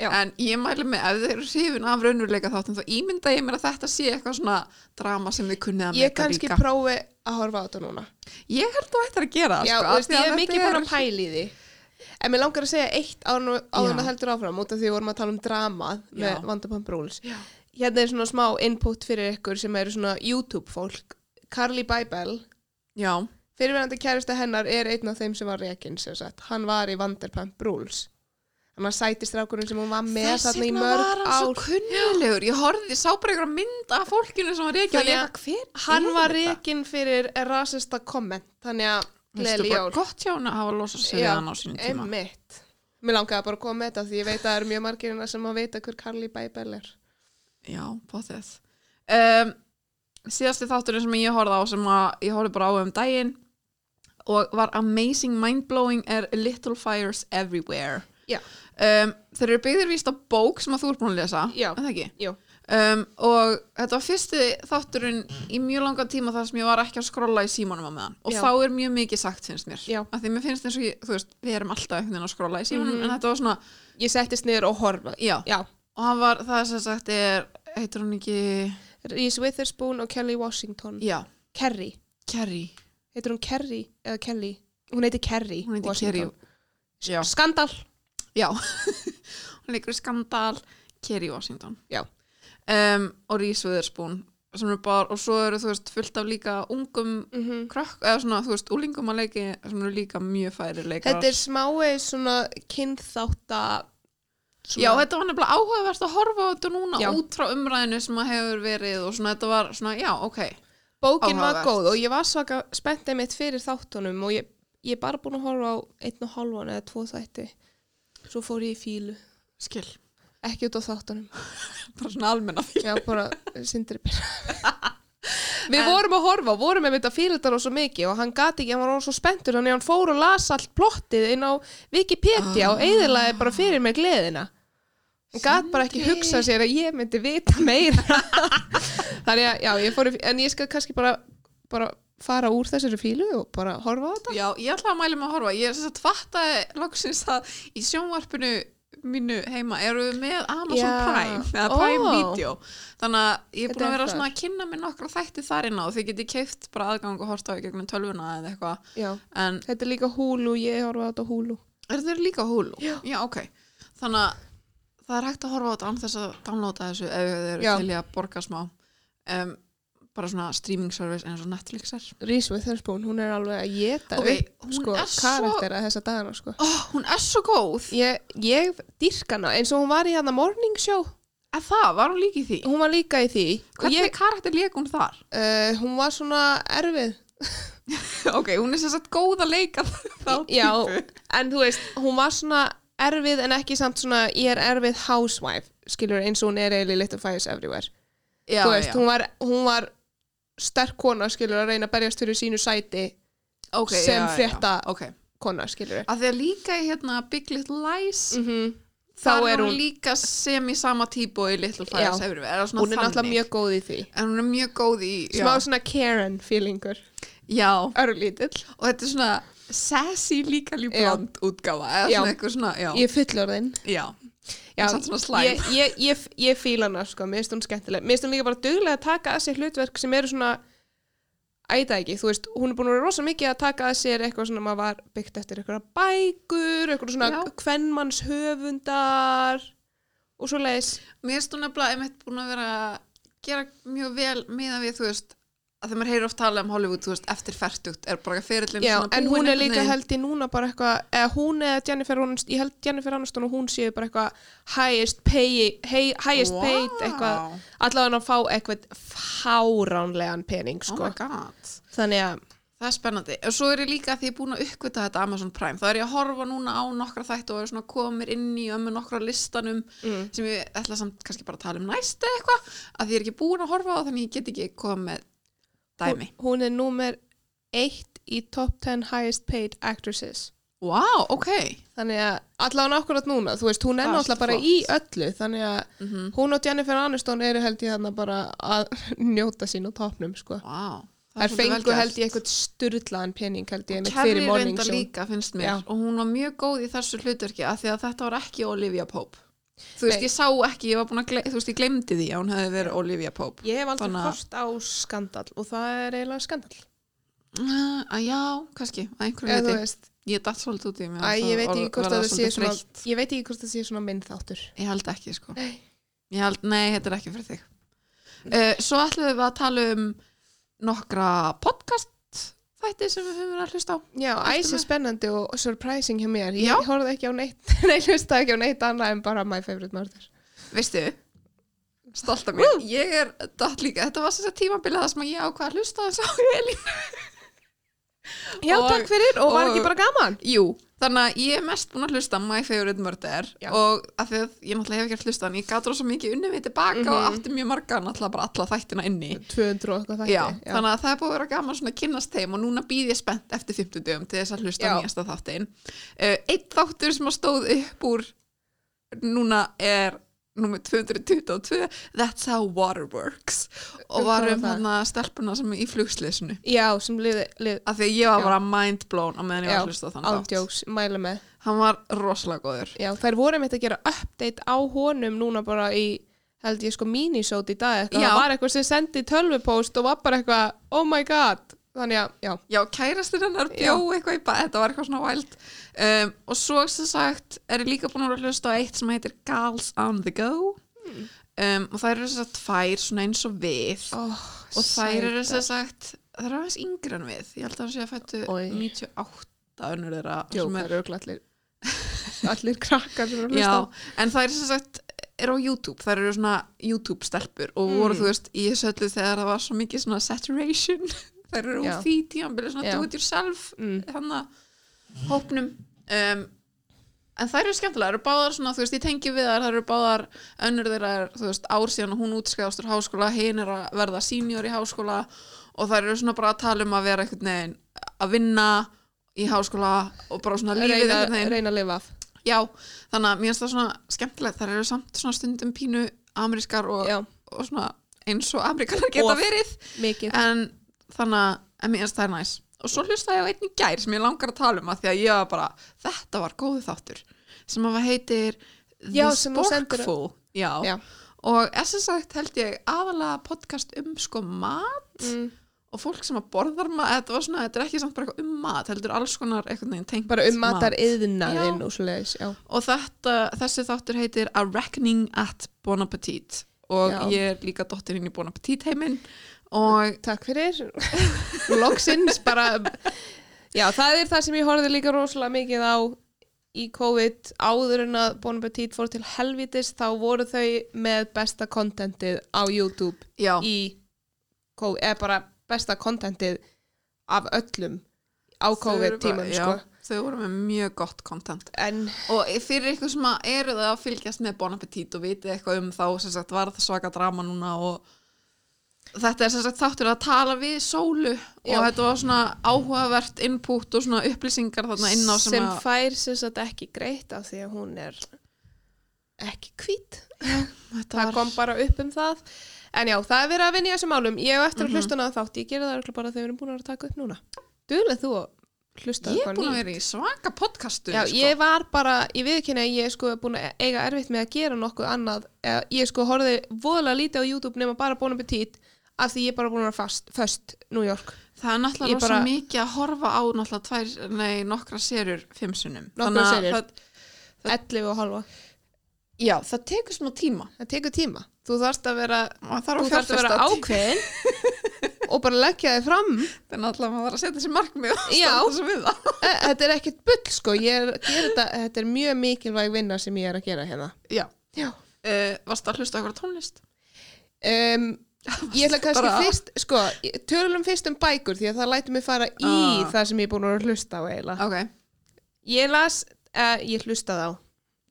Já.
en ég mæli mig ef þið eru hrifin af raunveruleika þáttum þá ímynda ég mér að þetta sé eitthvað svona drama sem þið kunnið að
ég
meta
kannski
líka
prófi að horfa á þetta núna
Ég held þú ættir að gera það
já, þú
sko, af
veist,
því að
ég hef
þetta
mikið búin
er-
að pæla í því en mér langar að segja eitt áður
Já.
að heldur áfram út af því við vorum að tala um dramað
Já.
með Vandapamp Rules
Já.
hérna er svona smá input fyrir ykkur sem eru svona YouTube fólk Carly Bybel,
Já,
fyrirverandi kærista hennar er einn af þeim sem var rekin sem sagt, hann var í Vanderpump Rules hann var sætistrákurinn sem hún var með
Þess
þarna í
vegna var
mörg
hann svo
ár
kunnulegur, ég horfði, sá bara einhverja mynd af fólkinu sem var reykja og
Þannig
ég
að
eitthvað, hver
hann
er
var
þetta?"
rekin fyrir rasista komment þannig að
Veistu
gleðli
bara
jól
gott hjá hann að hafa losað sig við
Já,
hann á sínum tíma
einmitt mér langaði bara að koma með þetta því ég veit að það eru mjög margirina sem að vita hver Carly Bybel er
Já, bóðið um, Síðasti þátturinn sem ég horfði á sem að ég horfði bara á um daginn og var amazing mindblowing er Little Fires Everywhere
Já.
um, Þeir eru byggðir víst á bók sem að þú ert búin að lesa
Já.
er það ekki?
Jú.
Um, og þetta var fyrsti þátturinn í mjög langan tíma þar sem ég var ekki að skrolla í símanum á meðan og
Já.
þá er mjög mikið sagt finnst mér
Já.
af því mér finnst eins og ég, þú veist, við erum alltaf einhvern veginn að skrolla í símanum
Mhm.
en þetta var svona,
ég settist niður og horfa
já,
já,
og hann var, það sem sagt er heitir hann ekki,
Reese Witherspoon og Kelly Washington
já
Kerry,
Kerry,
heitir hún Kerry eða Kelly, hún heitir Kerry
hún heitir Kerry
Washington.
já,
skandal
já. [laughs] hún leikur í skandal Kerry Washington
Já.
um, og Reese Witherspoon sem er bara, og svo eru þú veist fullt af líka ungum
mm
krakk, eða svona þú veist úlingum að leiki sem eru líka mjög færi leikar
þetta er smái svona kynþátta svona,
já, þetta var nefnilega áhugavert að horfa á þetta núna
Já.
út frá umræðinu sem að hefur verið og svona þetta var svona, já, ok
bókin var
áhugavert.
góð og ég var svaka spenntið mitt fyrir þáttunum og ég, ég er bara búin að horfa á einn og halvan eða tvo þætti svo fór ég í fílu,
skil,
ekki út á þáttunum
bara svona almenna fíl
já bara sindri byrja [laughs] Við vorum að horfa, vorum með þetta fyrirtar og svo mikið og hann gati ekki, hann var orðinn svo spenntur þannig að hann fór og las allt plottið inn á Wikipedia og eiðilaði bara fyrir mig gleðina. Hann gat bara ekki
Sindri.
hugsað sér að ég myndi vita meira. [laughs] þannig að, já, ég fór, í- en ég skal kannski bara, bara fara úr þessari fílu og bara horfa á þetta.
Já, ég ætla að mæli mig að horfa. Ég er þess að fattaði loksins að í sjónvarpinu mínu heima eru við með Amazon
Já.
Prime eða
Ó.
Prime Video þannig að ég er búin
Þetta
að
er
vera
þar.
svona að kynna mér nokkra þætti þar inn á þið geti keift bara aðgang og horta á í gegnum tölvuna eða eitthvað
Já,
en
þetta er líka húlu, ég horfa á þetta á húlu.
er þeir líka á húlu? Já. ok þannig að það er hægt að horfa á þetta án þess að downloada þessu ef þeir eru
Já.
til í að borga smá um, bara svona streaming service eins og Netflix er
Reese Witherspoon, hún er alveg að geta
Ok, hún
upp, sko,
er svo-
karaktera þessa dagana, sko.
Ó, hún er svo góð
Ég, ég dýrka hana eins og hún var í hana morning show
En það, var hún líka í því?
hún var líka í því og
Hvernig
ég,
karakter leik hún
[laughs]
þar?
uh, hún var svona erfið
ok, hún er sem sagt góð að
[laughs]
leika þá
já, en þú veist, hún var svona erfið en ekki samt svona ég er erfið housewife, skilur eins og hún er eiginlega í Little Fires Everywhere
já,
þú veist,
já.
hún var, hún var sterk kona, skilur, að reyna að berjast fyrir sínu sæti
Ok,
sem
já, já, já.
frétta-
Ok.
kona, skilur
Að því að líka í hérna Big Little Lies,
mm þá
þar
er hún,
líka sem í sama típu og í Little Fires
Já.
Everywhere. eða svona
hún er náttúrulega
þannig.
mjög góð í því
En hún er mjög góð í... Já.
smá svona Karen feelingur
já,
örlítill,
og þetta er svona sassy líka lífland útgáfa, eða
Já.
svona eitthvað svona, já.
ég er fullorðin
Já,
Já,
Samt svona slæm.
ég, ég, ég, ég fíla hana sko, mér finnst hún skemmtileg mér finnst hún líka bara duglega að taka að sér hlutverk sem eru svona æta ekki, þú veist, hún er búin að vera rosa mikið að taka að sér eitthvað svona maður var byggt eftir eitthvað bækur, eitthvað svona
Já.
kvennmanns höfundar og svo leiðis
mér finnst hún nefnilega einmitt búin að vera að gera mjög vel meðan við, þú veist, að þegar maður heyrir oft tala um Hollywood, þú veist, eftir fertugt, er bara ferillin
Já, en hún er líka
held
held í núna bara eitthvað, eða hún eða Jennifer Aniston, ég held Jennifer Aniston og hún séu bara eitthvað highest, pay, hey, highest paid eitthvað,
Vá.
allavega að fá eitthvað fáránlegan pening
Oh my
sko,
god.
þannig að
Það er spennandi. Og svo er ég líka því ég er búin að uppgöta þetta Amazon Prime. þá er ég að horfa núna á nokkra þætt og er svona komir inn í ömmu nokkra listanum
Mm.
sem ég ætla samt kannski bara að tala um næst eða eitthvað að því ég er ekki búin að horfa á þannig ég get ekki komið með dæmi.
Hún, hún er númer eitt í top 10 highest paid actresses.
Vá, wow, ok.
Þannig að allavega nákvæmlega núna, þú veist, hún er
Það er
náttúrulega bara
flott.
í öllu, þannig að hún og Jennifer Aniston eru held ég þarna bara að [laughs] njóta sín á topnum, sko.
Vá. Wow.
Það fengu held ég eitthvað styrlaðan pening held ég einmitt
Kerry
fyrir morning
reynda
show.
líka finnst mér
Já.
og hún var mjög góð í þessu hlutverki að því að þetta var ekki Olivia Pope. Þú veist,
Nei.
ég sá ekki, ég var búin að, gle þú veist, ég glemdi því að hún hefði verið Olivia Pope.
Ég hef aldrei
Þannig að-
kost á skandal og það er eiginlega skandal.
Uh, já, kannski, að einhverju
Eða
viti.
þú veist,
Ég datt svolítið út í mig.
að ég veit ekki hvort að það sé svona,
freytt.
ég veit ekki hvort það sé svona minnþáttur.
Ég held ekki, sko.
Nei.
Ég held, nei, þetta er ekki fyrir þig.
Mm.
Uh, svo ætlum við að tala um nokkra podcast þætti sem við höfum verið að hlusta á.
Já, æs er
með?
spennandi og surprising hjá mér. Ég
Já.
horfði ekki á neitt, [laughs] nei, hlusta ekki á neitt annað en bara My Favorite Murder.
Veistu, stolt af mér. Ég er datt líka, þetta var þess að tímabilið það sem ég ákvað að hlusta þess á Elín.
Já,
Og-
takk fyrir og var
og-
ekki bara gaman.
Jú, þannig að ég er mest búin að hlusta á My Favorite Murder
Já.
og að því að ég náttúrulega hef ekki hlusta en ég gat rosa mikið unnið við tilbaka
Mhm.
og átti mjög marga náttúrulega bara alla þættina inni.
200 og eitthvað þætti.
já, þannig að það er búið að vera gaman svona að kynnast þeim og núna býð ég spennt eftir 50 dögum til þess að hlusta
Já.
á nýjasta þáttin uh, Eitt þáttur sem að stóð upp úr núna er nummer 222 That's How Water Works og
Um
var
hvað var
um
það?
hana stelpuna sem er í flugslisinu
já sem liði, lið,
af því að ég var
Já.
bara mind blown á meðan ég var að hlusta á þann þátt
ándjóks, mæla með.
Hann var rosalega góður
Já, þær voru meitt að gera update á honum núna bara í, held ég sko, minisót í dag. Eitthvað.
Já.
Það var eitthvað sem sendi tölvupóst og var bara eitthvað, oh my god. Þannig að, já,
Já, kærastinn hennar bjó eitthvað í bað, þetta var eitthvað svona wild. Um, og svo sem sagt er ég líka búin að vera að hlusta á eitt sem heitir Girls on the Go.
Hmm.
Um, og það eru þess að tvær svona eins og við.
oh,
og þær eru þess að sagt, það eru aðeins yngri en við. Ég held að það sé að fættu
Oj.
98 önnur þeirra.
Jó,
sem
það
er,
eru örugglega allir, allir [laughs] krakkar sem eru að
já,
hlusta.
en það eru þess að sagt er á YouTube, það eru svona YouTube stelpur og
Mm.
voru þú veist í þessu öllu þegar það var svo mikið svona saturation [laughs] þær eru úr
Já.
því tíambili svona
Já.
do it yourself
Mm.
hann hópnum um, en þær eru skemmtilega, þær eru báðar svona þú veist, ég tengi við þær, þær eru báðar önnur þeirra er, þú veist, ár síðan og hún útskæðast úr háskóla, hinn er að verða senior í háskóla og það eru svona bara að tala um að vera einhvern veginn að vinna í háskóla og bara svona lífið
reyna,
einhvern veginn
reyna að lifa af
já, þannig að mér finnst það svona skemmtilegt það eru samt svona stundum pínu amerískar og,
já,
og svona eins og ameríkanar geta
Of.
verið
mikið
en þannig að en mér finnst það er næs og svo hlusta ég á einn í gær sem ég langar að tala um að því að ég var bara, þetta var góðu þáttur sem að heitir
Já,
The
sem þú sendir-
Sporkful já.
Já.
og þess að sagt held ég aðalega podcast um sko mat
mm,
og fólk sem að borðar mat þetta, var svona, þetta er ekki samt bara eitthvað um mat heldur alls konar einhvern veginn tengt
bara um matar
Já.
yðnaðinn og svoleiðis já.
og þetta, þessi þáttur heitir A Reckoning at Bon Appetit og
Já.
ég er líka dottirinn í Bon Appetit heiminn og
takk fyrir
[laughs]
loksins bara já, það er það sem ég horfði líka rosalega mikið á í COVID áður en að Bon Appetit fór til helvitis þá voru þau með besta kontentið á YouTube
já,
í COVID, eða bara besta kontentið af öllum á
þau eru
COVID tímum
bara-
sko.
já, þau voru með mjög gott content
en
og fyrir ykkur sem að eru það að fylgjast með Bon Appetit og vitið eitthvað um þá sem sagt var það svaka drama núna og þetta er sem sagt þáttur að tala við sólu og
Já.
þetta var svona áhugavert input og svona upplýsingar þarna inn á sem,
sem
að
fær sem sagt ekki greitt af því að hún er ekki hvít
þetta
það
var-
kom bara upp um það en já, það er verið að vinna í þessum málum ég hef eftir
Mhm.
að hlusta hana þátt, ég gera það örugglega bara þegar við erum búin að vera að taka upp núna duðlega þú að hlusta á
ég
eitthvað
er búin
nýtt.
að vera í svaka podcastu
Já,
sko.
ég var bara, ég viðkynna að ég er sko búin að eiga erfitt með að gera nokkuð annað Eða, ég sko horfði voðalega lítið á YouTube nema bara búin að betít af því ég er bara búin að vera fast, föst New York
Það er náttúrulega
Ég
rosa
bara-
mikið að horfa á náttúrulega tvær, nei, nokkra serjur fimm sinnum.
Nokkrar
Þannig að
seríur.
Það,
11 og halva,
já, það tekur smá tíma.
það tekur tíma þú þarft að vera,
Maður þarf
þú þarft að
að fjárfesta
vera
tí-
ákveðin og bara leggja þig fram
Það er náttúrulega maður þarf að setja sér markmið og
Já.
standa svo við það.
E- þetta er ekkert bull sko ég er, ég er þetta, þetta er mjög mikilvæg vinna sem ég er að gera hérna
Já.
[laughs] Já.
Uh, varst að hlusta okkur tónlist?
um, ég ætla kannski
Bara-
fyrst sko, ég- tölum fyrst um bækur því að það lætur mig fara í
Ah.
það sem ég er búin að vera að hlusta á eiginlega
Ok,
ég las, uh, ég hlustaði á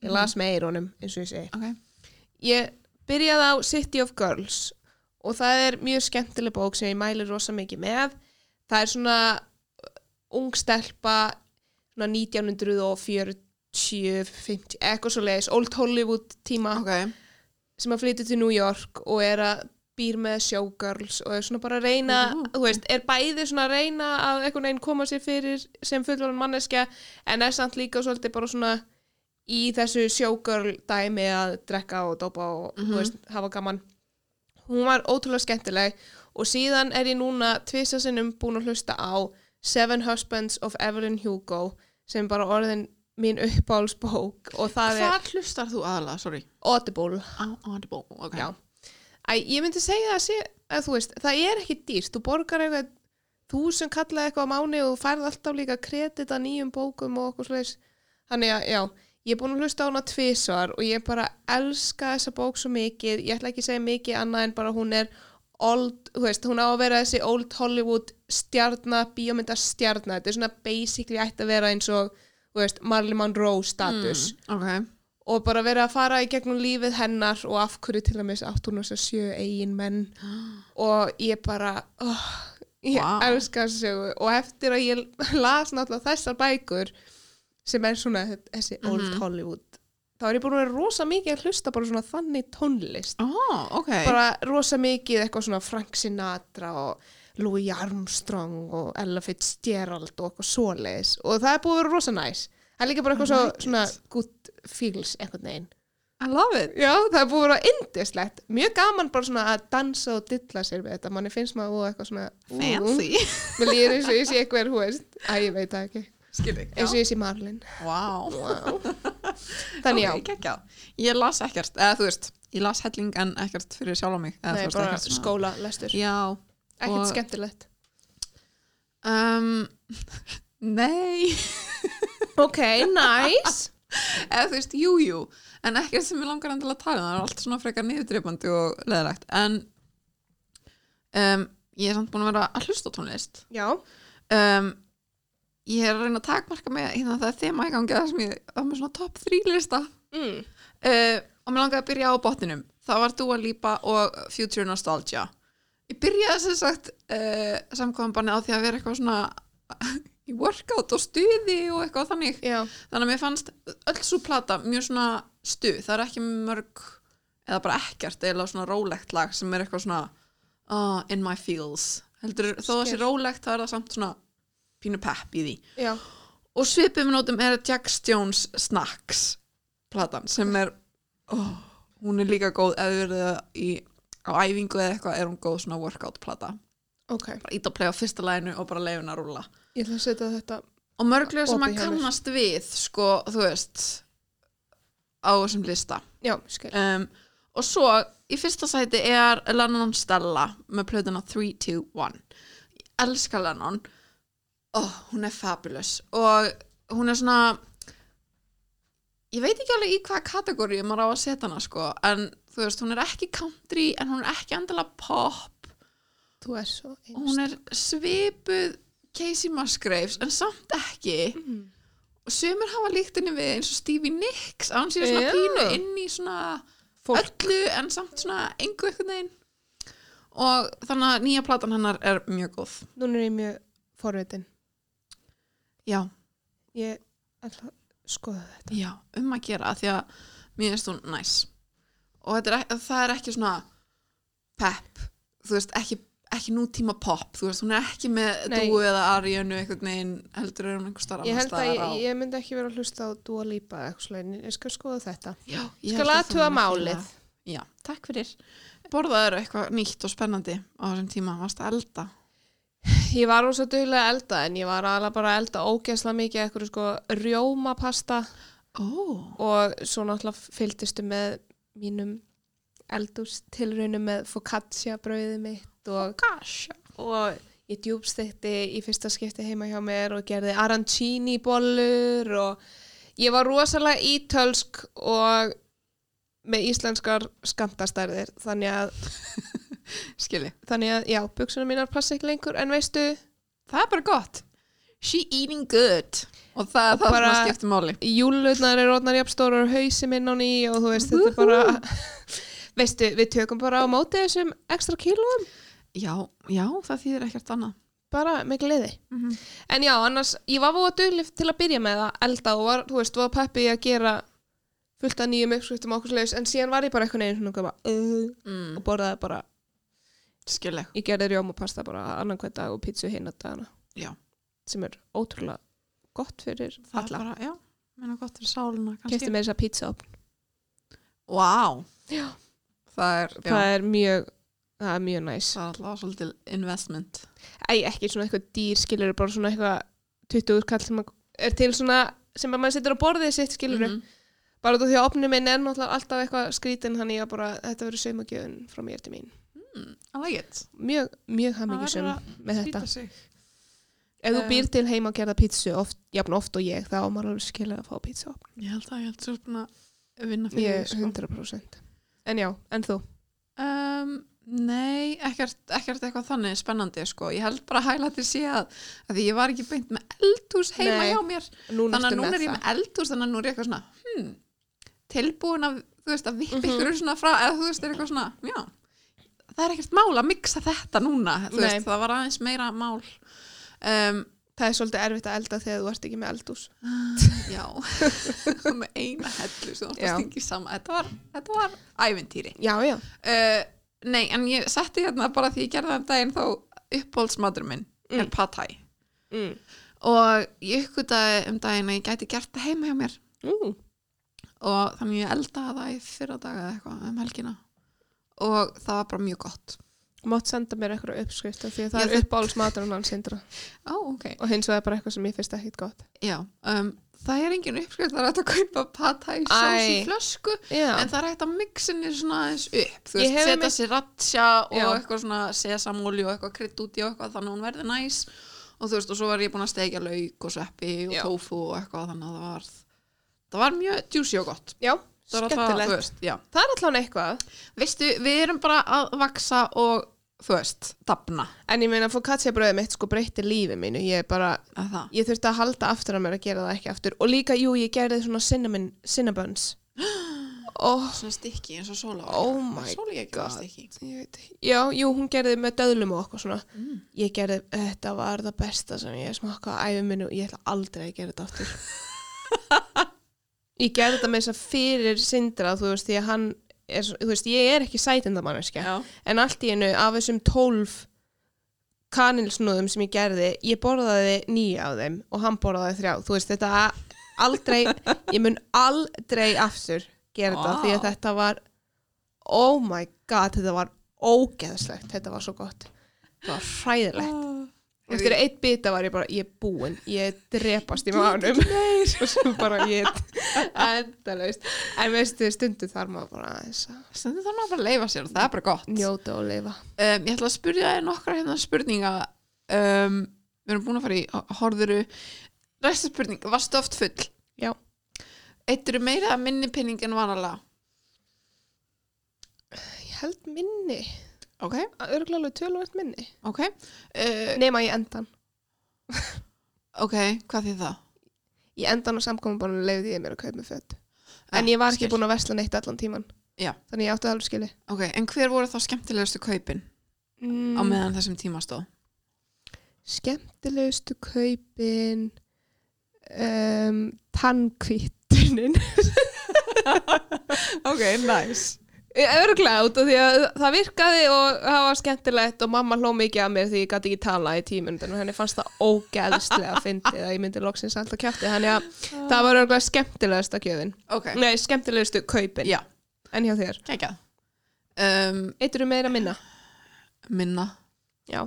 ég las með eirónum eins og ég segi
ok.
ég byrjaði á City of Girls og það er mjög skemmtileg bók sem ég mæli rosa mikið með það er svona uh, ung stelpa svona 1940 50, eitthvað svo leiðis, Old Hollywood tíma
Ok,
sem að flytja til New York og er að býr með showgirls og er svona bara að reyna
Ú.
þú veist, er bæði svona að reyna að einhvern veginn koma sér fyrir sem fullvalin manneskja en er samt líka svolítið bara svona í þessu showgirl dæmi að drekka og dopa og mm
Mhm.
veist, hafa gaman hún var ótrúlega skemmtileg og síðan er ég núna tvisa sinnum búin að hlusta á Seven Husbands of Evelyn Hugo sem er bara orðin mín uppáhalsbók og það er
hvað hlustar þú aðalega, sorry?
Audible
Á Audible, ok.
Já. Æ, ég myndi segja að, sé, að þú veist, það er ekki dýrt, þú borgar eitthvað þú sem kallaði eitthvað á mánu og þú færð alltaf líka kredit að nýjum bókum og okkur slags, þannig að já ég er búin að hlusta á hana tvisvar og ég bara elska þessa bók svo mikið ég ætla ekki að segja mikið annað en bara hún er old, þú veist, hún á að vera þessi old Hollywood stjarna bíómynda stjarna, þetta er svona basically ætti að vera eins og, þú veist, Marilyn Monroe status
Mm, Ok, [gasps]
og bara verið að fara í gegnum lífið hennar og af hverju til að mis átt hún þess að sjö eigin menn og ég bara oh, ég
Vá.
elska þessu sögu og eftir að ég las náttúrulega þessar bækur sem er svona þessi old Hollywood þá er ég búin að vera rosa mikið að hlusta bara svona þannig tónlist
ó, Ah, ok.
bara rosa mikið eitthvað svona Frank Sinatra og Louis Armstrong og Ella Fitzgerald og eitthvað svoleiðis og það er búið að vera rosa næs það er líka bara eitthvað
I
svo,
like it.
svona good feels einhvern veginn
I love it.
já, það er búið að vera indislegt mjög gaman bara svona að dansa og dilla sér við þetta manni finnst maður og eitthvað svona ú,
Fancy.
[laughs]
[laughs]
mér líður eins og ég sé eitthvað hú veist, að ég veit það ekki
Skil ekki.
eins og ég sé Marlin
Wow. [laughs]
wow. þannig
Ok, geggjað. Ég las ekkert, eða þú veist, ég las helling en ekkert fyrir sjálf á mig.
já,
Eða,
nei,
þú veist,
bara
ekkert svona-
skóla lestur
Já.
ekkert
og-
skemmtilegt
Um, [laughs] nei.
ok, nice
Eða þú veist, jú, jú. En ekkert sem ég langar endilega að tala um. Það er allt svona frekar niðurdreipandi og leðilegt. En um, ég er samt búin að vera að hlusta á tónlist.
[laughs] já,
Um, ég er að reyna að takmarka mig hérna það er þema í gangi það sem ég það er með svona top 3 lista.
mm.
Eh, uh, og mér langaði að byrja á botninum það var Dua Lipa og Future Nostalgia Ég byrjaði sem sagt uh, samkvæmbanni á því að vera eitthvað svona [laughs] í workout og stuði og eitthvað þannig.
já,
Þannig að mér fannst öll svo plata mjög svona stuð. Það er ekki mörg eða bara ekkert eða svona rólegt lag sem er eitthvað svona uh, in my feels. Heldur, þó að það sé
Skil.
rólegt þá er það samt svona pínu pepp í því.
já,
og svipum nótum er Jack Jones Snacks platan sem er oh, hún er líka góð ef við verðum í á æfingu eða eitthvað er hún góð svona workout plata
ok
bara ít að playa á fyrsta læginu og bara leiðuna að rúla
ég ætla að setja þetta
og mörglega sem
Opið
maður
hjá mér.
kannast við sko þú veist á þessum lista
já, skil,
um, og svo í fyrsta sæti er Lennon Stella með plötuna 3, 2, 1 ég elska Lennon oh, hún er fabulous og hún er svona ég veit ekki alveg í hvaða kategóri maður á að setja hana sko en þú veist, hún er ekki country en hún er ekki endilega pop
þú er svo
og hún er svipuð Casey Musgraves en samt ekki
Mhm.
og sömur hafa líkt henni við eins og Stevie Nicks að hún sé svona
Já.
pínu inn í svona
fólk,
öllu en samt svona engu eitthvað neginn og þannig að nýja platan hennar er mjög góð
núna er ég mjög forvitin
já,
ég ætla að skoða þetta
já, um að gera af því að mér finnst hún næs og þetta er, ek- það er ekki svona pep, þú veist ekki, ekki nútíma pop, þú veist hún er ekki með
Nei.
dúu eða aríunu eitthvað neginn heldur er hún einhver starra
ég held að ég, ég myndi ekki vera að hlusta á Dua Lipa eða eitthvað svoleiðis. ég skal skoða þetta
já,
ég skal aðtuga málið
já, takk fyrir borðaður eitthvað nýtt og spennandi á þessum tíma, varst að elda
Ég var rosa duglega að elda en ég var alveg bara að elda ógeðslega mikið eitthvað sko rjómapasta
ó,
og svo náttúrulega fylgdistu með mínum eldústilraunum með focaccia brauðið mitt og,
gosh
og ég djúbstekti í fyrsta skipti heima hjá mér og gerði arancini bollur og ég var rosalega ítölsk og með íslenskar skamtastærðir þannig að,
skilji
þannig að já, buksuna mínar passa ekki lengur en veistu,
Það er bara gott. She eating good. Og það er það
bara-
sem að skipta máli.
júlutnar er orðnar jafnstórar og hausi minn á ný og þú veist þetta er bara [laughs] veistu, við tökum bara á móti þessum ekstra kílóum,
Já, já, það þýðir ekkert annað.
bara með gleði
Mm -hmm.
en já, annars, ég var fóða duglif til að byrja með að elda og var, þú veist, var peppi í að gera fullt af nýjum uppskriftum og okkur slags, en síðan var ég bara eitthvað neginn svona eitthvað bara, uh,
Mm.
og borðaði bara,
Skilji.
ég gerði rjómapasta bara annan hvern dag og pítsu hinn að dagana
Já.
sem er ótrúlega gott fyrir
Það er
alla,
bara, já, meina gott fyrir sáluna
kefti
kannski.
með þess að pítsa opn
Vá. Wow.
Já.
Það er, já,
það er mjög, það er mjög næs
það er alltaf svolítil investment.
Æ, ekki svona eitthvað dýr, skilur bara svona eitthvað 20 kall sem að- er til svona sem að maður setur á borðið sitt, skilur
Mhm.
bara út af því að opnum minn er náttúrulega alltaf eitthvað skrítin þannig að bara þetta verður saumagjöfun frá mér til mín.
Mhm. Mm, I like it.
Mjög, mjög
verður
hamingisum
að
með þetta.
Skýta sig.
Ef þú
Eh.
býr til heima að gera pítsu oft, jafn oft og ég, þá á maður alveg skilur að fá pítsu opn.
Ég held að ég held svo búin að vinna fyrir
Ég,
því, sko.
100%. En já, en þú?
Um, nei, ekkert, ekkert eitthvað þannig spennandi sko. Ég held bara að hæla til sé að, að því ég var ekki beint með eldhús heima
Nei.
hjá mér.
Núna
þannig að
ertu
núna er ég
það.
með eldhús þannig að núna er ég eitthvað svona hmm, tilbúin að þú veist að
Mhm.
vippa ykkur svona frá eða þú veist er eitthvað svona já, það er ekkert mál að mixa þetta núna þú
Nei.
veist það var aðeins meira mál um,
Það er svolítið erfitt að elda þegar þú ert ekki með eldús.
já [laughs] með eina hellu sem þú átt
Já.
að stingi saman þetta var, þetta var ævintýri
Já, já.
uh, nei en ég setti hérna bara því ég gerði það um daginn þá uppbólsmadur minn er
Mm.
pad thai
Mm.
og ég uppgötaði um daginn að ég gæti gert það heima hjá mér
Mm.
og þannig ég eldaði það í fyrra daga eða eitthvað um helgina og það var bara mjög gott
Mátt senda mér eitthvað uppskrift af því að það
Ég
er uppáhaldsmaturinn hans hindra.
Ó, ok
og hins vegar bara eitthvað sem ég finnst ekkit gott
Já, um, það er engin uppskrift það er hægt að kaupa pata í sós í
Æ.
flösku
já,
en það er hægt að mixinni svona aðeins upp þú
Ég
veist,
hef
setja
einmitt-
sér ratsja og
Já.
eitthvað svona sesamóli og eitthvað krydd út í og eitthvað þannig að hún verði næs og þú veist, og svo var ég búin að steikja lauk og sveppi og
Já.
tófu og eitthvað þannig að það var það var mjög juicy og gott
já
Það var alltaf-
skemmtilegt,
þú
það,
veist, já.
er allan eitthvað
Veistu, við erum bara að vaksa og, þú veist, dafna
en ég meina focaccia bröðið mitt sko breytti lífi mínu ég bara,
að það.
ég þurfti að halda aftur að mér að gera það ekki aftur [gasps] og líka, jú, ég gerði svona cinnamon, cinnabuns oh,
svona stykki eins og sóla
Oh my
sóla ég
god.
stykki
ég veit ekki. Já, jú, hún gerði með döðlum og okkur svona Ég gerði, þetta var það besta sem ég smakkaði á æfi minni og ég ætla aldrei að gera þetta aftur Ég gerði þetta með þess að fyrir Sindra, þú veist, því að hann er, svo- þú veist, ég er ekki um sætindamanneska
já,
en allt í einu af þessum tólf kanilsnúðum sem ég gerði ég borðaði nýja af þeim og hann borðaði þrjá, þú veist þetta aldrei, ég mun aldrei aftur gera þetta
Vá.
því að þetta var oh my god, þetta var ógeðslegt þetta var svo gott, þetta var hræðilegt og eftir eitt bita var ég bara, ég er búin ég drepast í maðunum [laughs] og svo bara ég endalaust, en veistu stundu þar maður bara aðeins að
stundir þannig að bara leifa sér og það er bara gott um,
njóta og lifa
ég ætla að spyrja þér nokkra hérna spurninga um, við erum búin að fara í horðuru resta spurning, varstu oft full?
Já.
eittir meira að minni pinning en vanalega
Ég held minni,
ok,
örgulega alveg tölvært minni.
ok uh,
Nema í endan.
ok, hvað þýð það?
Í endan á samkominbónu leiði ég mér að kaupa með fött.
Ja,
En ég var ekki
Ah, skil.
búin að vesla neitt allan tíman.
Já.
Þannig ég átti að alveg skili.
ok, en hver voru þá skemmtilegustu kaupin á
Mm,
meðan þessum tíma stóð?
skemmtilegustu kaupin, um, [laughs] tannkvíttunin.
ok, nice
Örgulega út af því að það virkaði og það var skemmtilegt og mamma hló mikið að mér því ég gæti ekki tala í tímundin og henni fannst það ógeðslega [laughs] að fyndi að ég myndi loksins alltaf kjátti. Þannig að það var örgulega skemmtilegasta gjöfin.
ok,
Ah. Nei, skemmtilegustu kaupin.
já,
En hjá þér?
geggjað um,
Eitt eru meira minna?
minna
Já.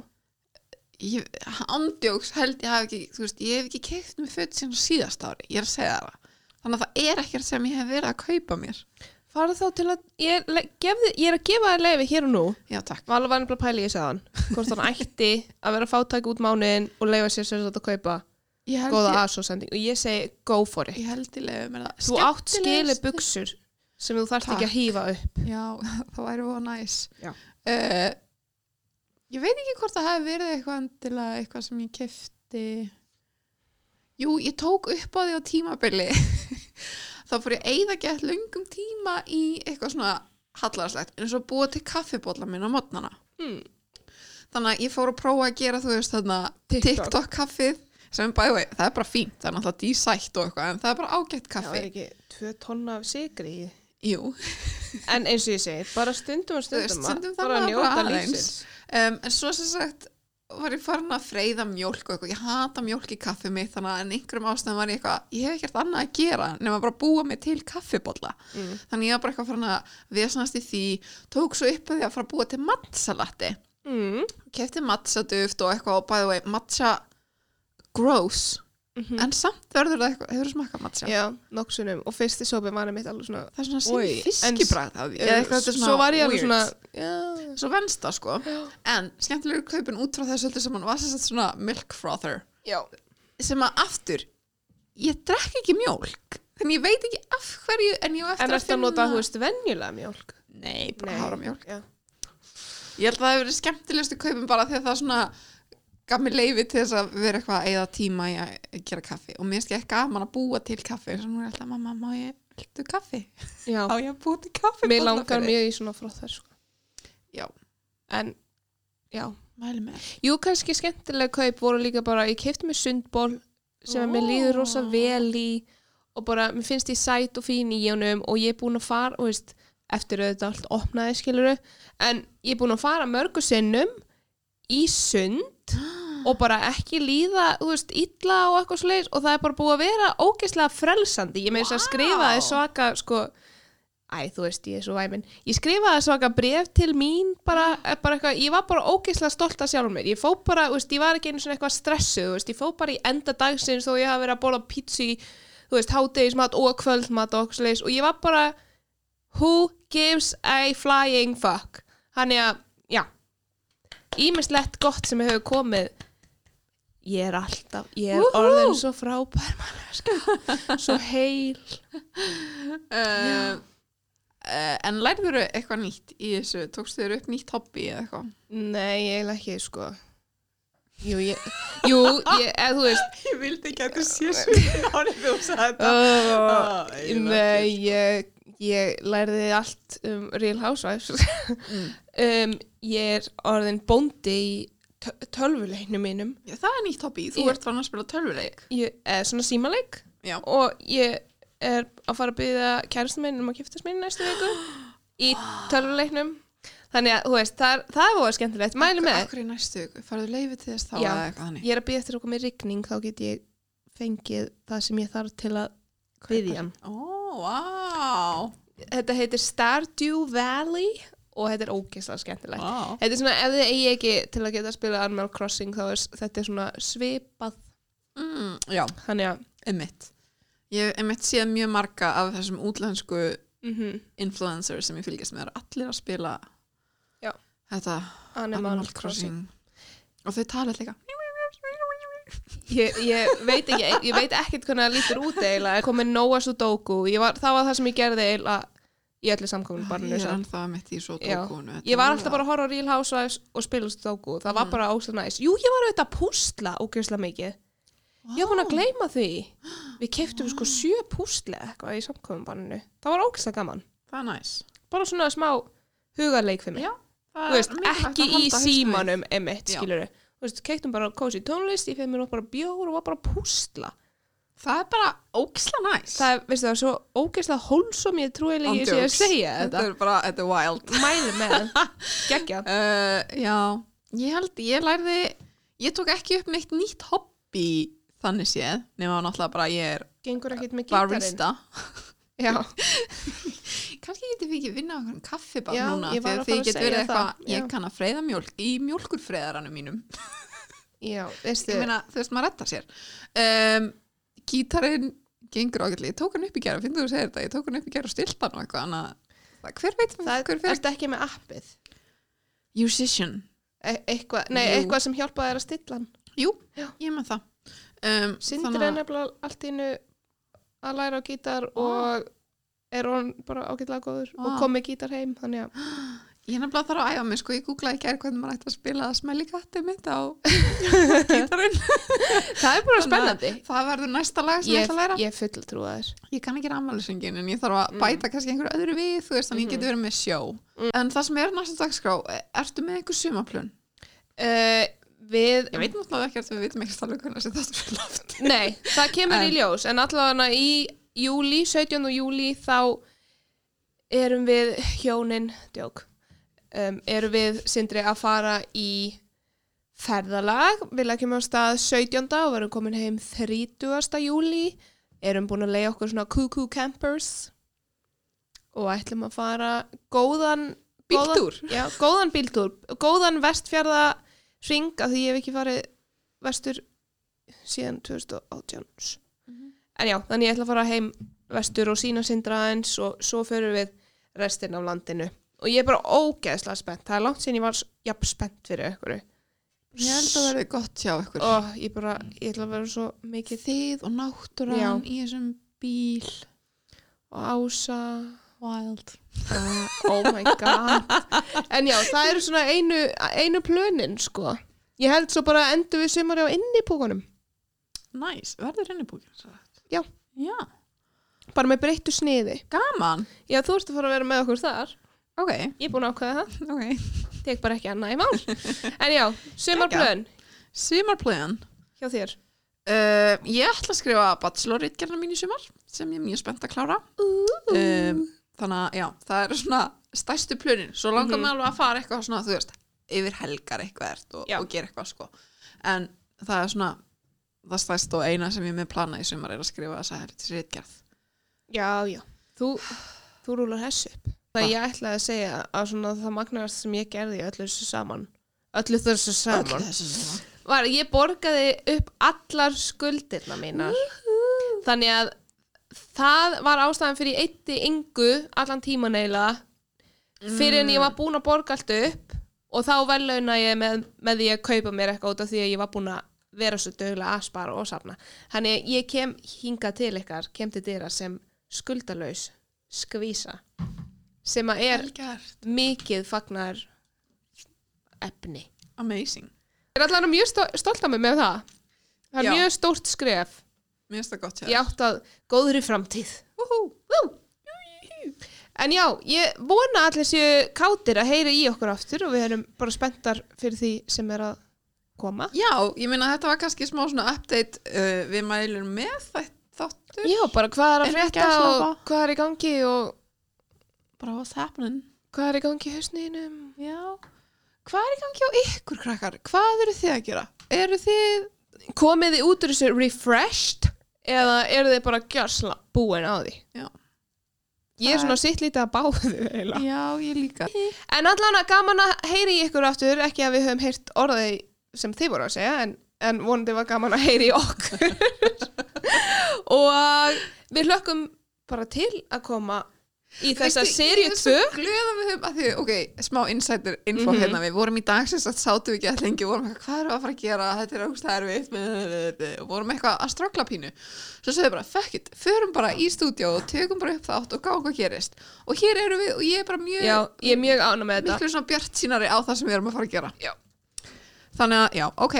ég, andjóks held ég hafi ekki þú veist, ég hef ekki keift mér föt síðan á síðasta ári ég er að segja það þannig að það er ekkert sem ég hef verið að kaupa mér
Farðu þá til að, ég, le- gefði, ég er að gefa þér leifi hér og nú.
já takk,
Vala var nefnilega að pæla í þessu aðan. Hvort hann ætti að vera fátæk út mánuðin og leifa sér sér að kaupa
ég held
góða
ég,
aðsóðsending. Og ég segi, go for it.
ég held ég leiði mér það
Þú átt skili
Skemmtilegust-
buksur sem þú þarft
Takk.
ekki að hýfa upp.
já, [laughs] það væri voða næs
Já.
Eh, ég veit ekki hvort það hafi verið eitthvað endilega eitthvað sem ég keifti jú, ég tók upp á því á tímabili [laughs] þá fór ég eigða gett löngum tíma í eitthvað svona hallarslegt eins og búa til kaffibólla minn á mótnana
Mm.
þannig að ég fór að prófa að gera þú veist þarna
TikTok.
TikTok, kaffið sem bæði vei, það er bara fínt, það er náttúrulega dísætt og eitthvað, en það er bara ágætt kaffi
ekki tvö tonna af sigri í.
Jú,
En eins og ég segi, bara stundum og
veist,
stundum. ma-
stundum þarf
bara
maður
njóta
bara aðeins.
lífsins.
um, en svo sem sagt var ég farin að freyða mjólk og eitthvað, ég hata mjólk í kaffið mitt þannig að en einhverjum ástæðum var ég eitthvað, ég hef ekkert annað að gera nema bara búa mig til kaffibólla
Mm.
þannig ég var bara eitthvað farin að vesnast í því, tók svo upp að því að fara að búa til matsalatti
Mm.
kefti matsaduft og eitthvað og bæði vei, matcha gross
Mhm.
en samt verður það eitthvað, hefur þú smakað matcha?
Já, nokksunum. Og fyrsti sópi var mitt alveg svona
Það er svona
Oj,
sín
en-
fiskibræð af því eða eitthvað, þetta er
svo var ég alveg
weird.
svona já,
Svo venst það sko En skemmtilegur kaupin út frá þessu öllu saman var þess að svona milk frother
já.
sem að aftur ég drekk ekki mjólk þannig ég veit ekki af hverju en ég á eftir
en eftir að nota, þú veist, venjulega mjólk
Nei, bara haframjólk
já.
Ég held að það hefur verið skemmtilegustu kaupin bara þegar það svona gaf mér leifi til þess að vera eitthvað eða tíma í að gera kaffi og mér skemmt gaman að búa til kaffi og nú er alltaf mamma, má ég viltu kaffi?
Já.
Á ég að búa til kaffi?
mér langar mjög í svona frá þær sko.
Já.
en, já
Mæli með
[gasps] jú, kannski skemmtilega kaup voru líka bara ég kefti mér sundból sem að mér líður rosa
Ó.
vel í og bara, mér finnst ég sæt og fín í honum og ég er búin að fara, og veist eftir auðvitað allt opnaði skiluru en ég er búin að fara mörgu sinnum í sund og bara ekki líða, þú veist, illa og eitthvað svoleiðis og það er bara búið að vera ógeðslega frelsandi, ég með þess að
Vá.
skrifaði svaka, sko æ, þú veist, ég er svo væmin, ég skrifaði svaka bref til mín, bara, eh, bara eitthvað ég var bara ógeðslega stolt af sjálfum mér ég fó bara, þú veist, ég var ekki einu svona eitthvað stressuð þú veist, ég fó bara í enda dagsins þó ég hafi verið að bóla pítsu í, þú veist, hádegismat og kvöldmat og okkur svoleiðis og ég var bara who gives a flying fuck þannig að, já ímislegt gott sem hefur komið ég er alltaf ég er
Woohoo!
orðin svo frábær manneska svo heil
uh, uh, En lærður þau eitthvað nýtt í þessu? Tókstu þau upp nýtt hobby eða eitthvað?
nei, ég er ekki sko jú, ég, jú ég, eða þú veist
Ég [laughs] Sko, vildi Ah, ekki sko. að þú sé svo árið þú sagði
uh, nei, ég, ég lærði allt um Real Housewives
Mm.
um, ég er orðin bóndi í tö- tölvuleiknum mínum
Já, það er nýtt hobby, þú
Ég-
ert fann að spila tölvuleik
ég, eða svona símaleik
Já,
og ég er að fara að byggja kærastum minn um að giftast minn næstu viku í tölvuleiknum þannig að þú veist, það, er- það er voða skemmtilegt mæli með,
Akkur í næstu, farðu leifið til þess þá
Já.
eða eitthvað þannig
ég er að byggja eftir okkur með rigning þá get ég fengið það sem ég þarf til að byggja hann
Ó, vá
þetta heitir Stardew Valley og þetta er ógeðslega skemmtilegt
Vá
Þetta er svona, ef þið eigi ekki til að geta að spila Animal Crossing þá er þetta er svona svipað
Mm, Já,
þannig að
emmitt Ég hef emmitt séð mjög marga af þessum útlensku
mm
influencers sem ég fylgjast með er allir að spila
Já.
þetta
Animal, Crossing,
og þau tala allir líka
Ég, ég, veit ekki, ég veit ekkert hvernig það lítur út eiginlega, ég kom með Noah Sudoku ég var, það var það sem ég gerði eiginlega í öllu samkominu barninu
ég er
samt.
ennþá mitt í svo
Já.
tókunu
ég var alltaf bara að horfa á Real Housewives og spila Sudoku, það
Mm.
var bara óslega næs jú, ég var auðvitað að púsla ógeðslega mikið ég var búin að gleyma
[gasps]
því við keftum sko sjö púsla eitthvað í samkominu barninu, það var ógeðslega gaman
það er næs
bara svona smá hugarleik fyrir mig
Já,
Þú veist, ekki í símanum emitt,
Já.
skilur þú veist, keiktum bara kósi tónlist ég fegði mér bara bjór og var bara að púsla
það er bara óksla næs
það, er, veistu, það er svo ógeðslega hólsom ég trúi líka ég sé að segja
þetta
þetta
er bara, þetta er wild
mæli með, [laughs] geggja
Uh, já, ég held, ég lærði, ég tók ekki upp neitt nýtt hobby þannig séð, nema náttúrulega bara ég er
gengur ekkert með gítarinn
barista.
já,
Kanski getið við ekki vinna okkur kaffi bara
Já,
núna,
ég var
þegar
að
þið
fara að
getur
segja
verið eitthvað,
það, já.
ég kann að freyða mjólk í mjólkurfreyðaranum mínum.
já, veistu
Ég meina, þú veist, maður rettar sér. Um, gítarinn gengur ágætlega, ég tók hann upp í gera, finnst þú að segja þetta, ég tók hann upp í gera og stilt hann og eitthvað, annað, hver veit,
það
hver fyrir?
ertu ekki með appið
Musician.
E eitthvað, nei,
Jú.
eitthvað sem hjálpaði þér að stilla hann
Jú,
Já.
ég með það. Um,
Sindri
þannig
er
að-
nefnilega allt í einu að læra á gítar og er hann bara ágætlega góður
Vá.
og kom með gítar heim þannig að
Ég er nefnilega þarf að æfa mig, sko, ég googlaði ekki hvernig maður ætti að spila að smelli kattið mitt á
[laughs]
gítarinn.
það er bara spennandi
Það verður næsta lag sem ég ætla að
ég,
læra.
Mm. ég full trúa þér
Ég, kann ekki rammalisöngin en ég þarf að bæta kannski einhverju öðru við, þú veist, þannig ég
Mhm.
geti verið með sjó.
Mm.
En það sem er næsta dagskrá, e- ertu með einhver sumaplun?
uh, við
Ég veit náttúrulega ekki eftir við vitum ekki alveg hvernig þessi þáttur er látt.
nei, það kemur
En-
í ljós en allavega í júli 17. júli þá erum við hjónin djók, um, erum við sindri að fara í ferðalag, við leggjum á stað 17. og verum komin heim 30. júli erum búin að leiða okkur svona cuckoo campers og ætlum að fara góðan [laughs] góðan-
Bíltúr?
Já, góðan bíltúr, góðan vestfjörða ring að því ég hef ekki farið vestur síðan 2018
Mhm.
en já, þannig ég ætla að fara heim vestur og sína sindra eins og svo förum við restin af landinu og ég er bara ógeðslega spennt það er langt síðan ég var jafn spennt fyrir ykkur
Ég held að verði gott hjá ykkur.
og ég bara, ég ætla að vera svo mikið
Þið og náttúran
Já.
í þessum bíl.
og ása
Wild.
oh my god en já, það eru svona einu, einu plönin sko, ég held svo bara endur við sumari á innipúkunum
Næs, nice. verður henni búin?
Já.
Já,
bara með breyttu sniði
gaman.
já, þú ert að fara að vera með okkur þar
Ok,
ég er búin að ákveða það,
ok.
tek bara ekki annað í mál en já, sumarplön
Sumarplan
hjá þér
uh, Ég ætla að skrifa bachelorritgerna mín í sumar sem ég er mjög spennt að klára um, Þannig að já, það eru svona stærstu plönin Svo langar mig alveg að fara eitthvað svona, þú veist, yfir helgar eitthvað ert og,
Já.
og gera eitthvað sko En það er svona, það stærst og eina sem ég er með plana í sumar er að skrifa þess að þetta ritgerð
Já, já. Þú, þú rúlar hess upp. Það ég ætlaði að segja að svona það magnarast sem ég gerði í öllu þessu saman. Öllu þessu saman.
þessu saman
Var að ég borgaði upp allar skuldirna mínar. Þannig að það var ástæðan fyrir ég eitti yngu allan tíman eiginlega fyrir en ég var búin að borga allt upp og þá verðlauna ég með, með því að kaupa mér eitthvað út af því að ég var búin að vera svo dögulega að spara og safna þannig ég kem hingað til ykkar kem til dyra sem skuldalaus skvísa sem að er
Helgert,
mikið fagnar efni
amazing
Ég er allavega mjög stó- stolt af mig með það það er
Já.
mjög stórt skref
Mér finnst það gott hjá
ég átt að góðri framtíð
Woohoo.
Woo! En já, ég vona að allir séu kátir að heyra í okkur aftur og við erum bara spenntar fyrir því sem er að koma.
Já, ég meina þetta var kannski smá svona update uh, við mælum með þetta þáttur.
Já, bara hvað er að
Erum
frétta
gæsalappa.
og hvað er í gangi og
Bara what's happening?
hvað er í gangi í hausninum.
Já. Hvað er í gangi á ykkur krakkar? Hvað eru þið að gera? Eru þið...
Komið þið út úr þessu refreshed eða eru þið bara gjörsla búin á því?
Já.
Ég er
Það
svona sitt lítið að báðu eiginlega.
Já, ég líka.
En allan að gaman að heyri í ykkur aftur, ekki að við höfum heyrt orðið sem þið voru að segja, en, en vonandi var gaman að heyri í okkur. [laughs] og við hlökkum bara til að koma í þessa
Veistu,
serið 2.
Ég er svo glöð að við höfum að því, ok, smá insider info
Mhm.
hérna, við vorum í dag sem sagt sátum við ekki að lengi, vorum eitthvað, hvað erum við að fara að gera, þetta er ógst erfitt, og vorum eitthvað að strafla pínu. Svo sögðum við bara, fuck it, förum bara í stúdíó og tökum bara upp þátt og gáum hvað gerist. Og hér eru við og ég er bara mjög,
Já, ég er mjög ánum með þetta.
miklu svona bjart sínari á það sem við erum að fara að gera.
Já.
Þannig að, já, ok,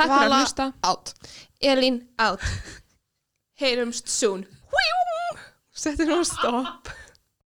Takk fyrir
Vala-
að hlusta.
out.
Elín out. Heyrumst soon. Settir hún stopp.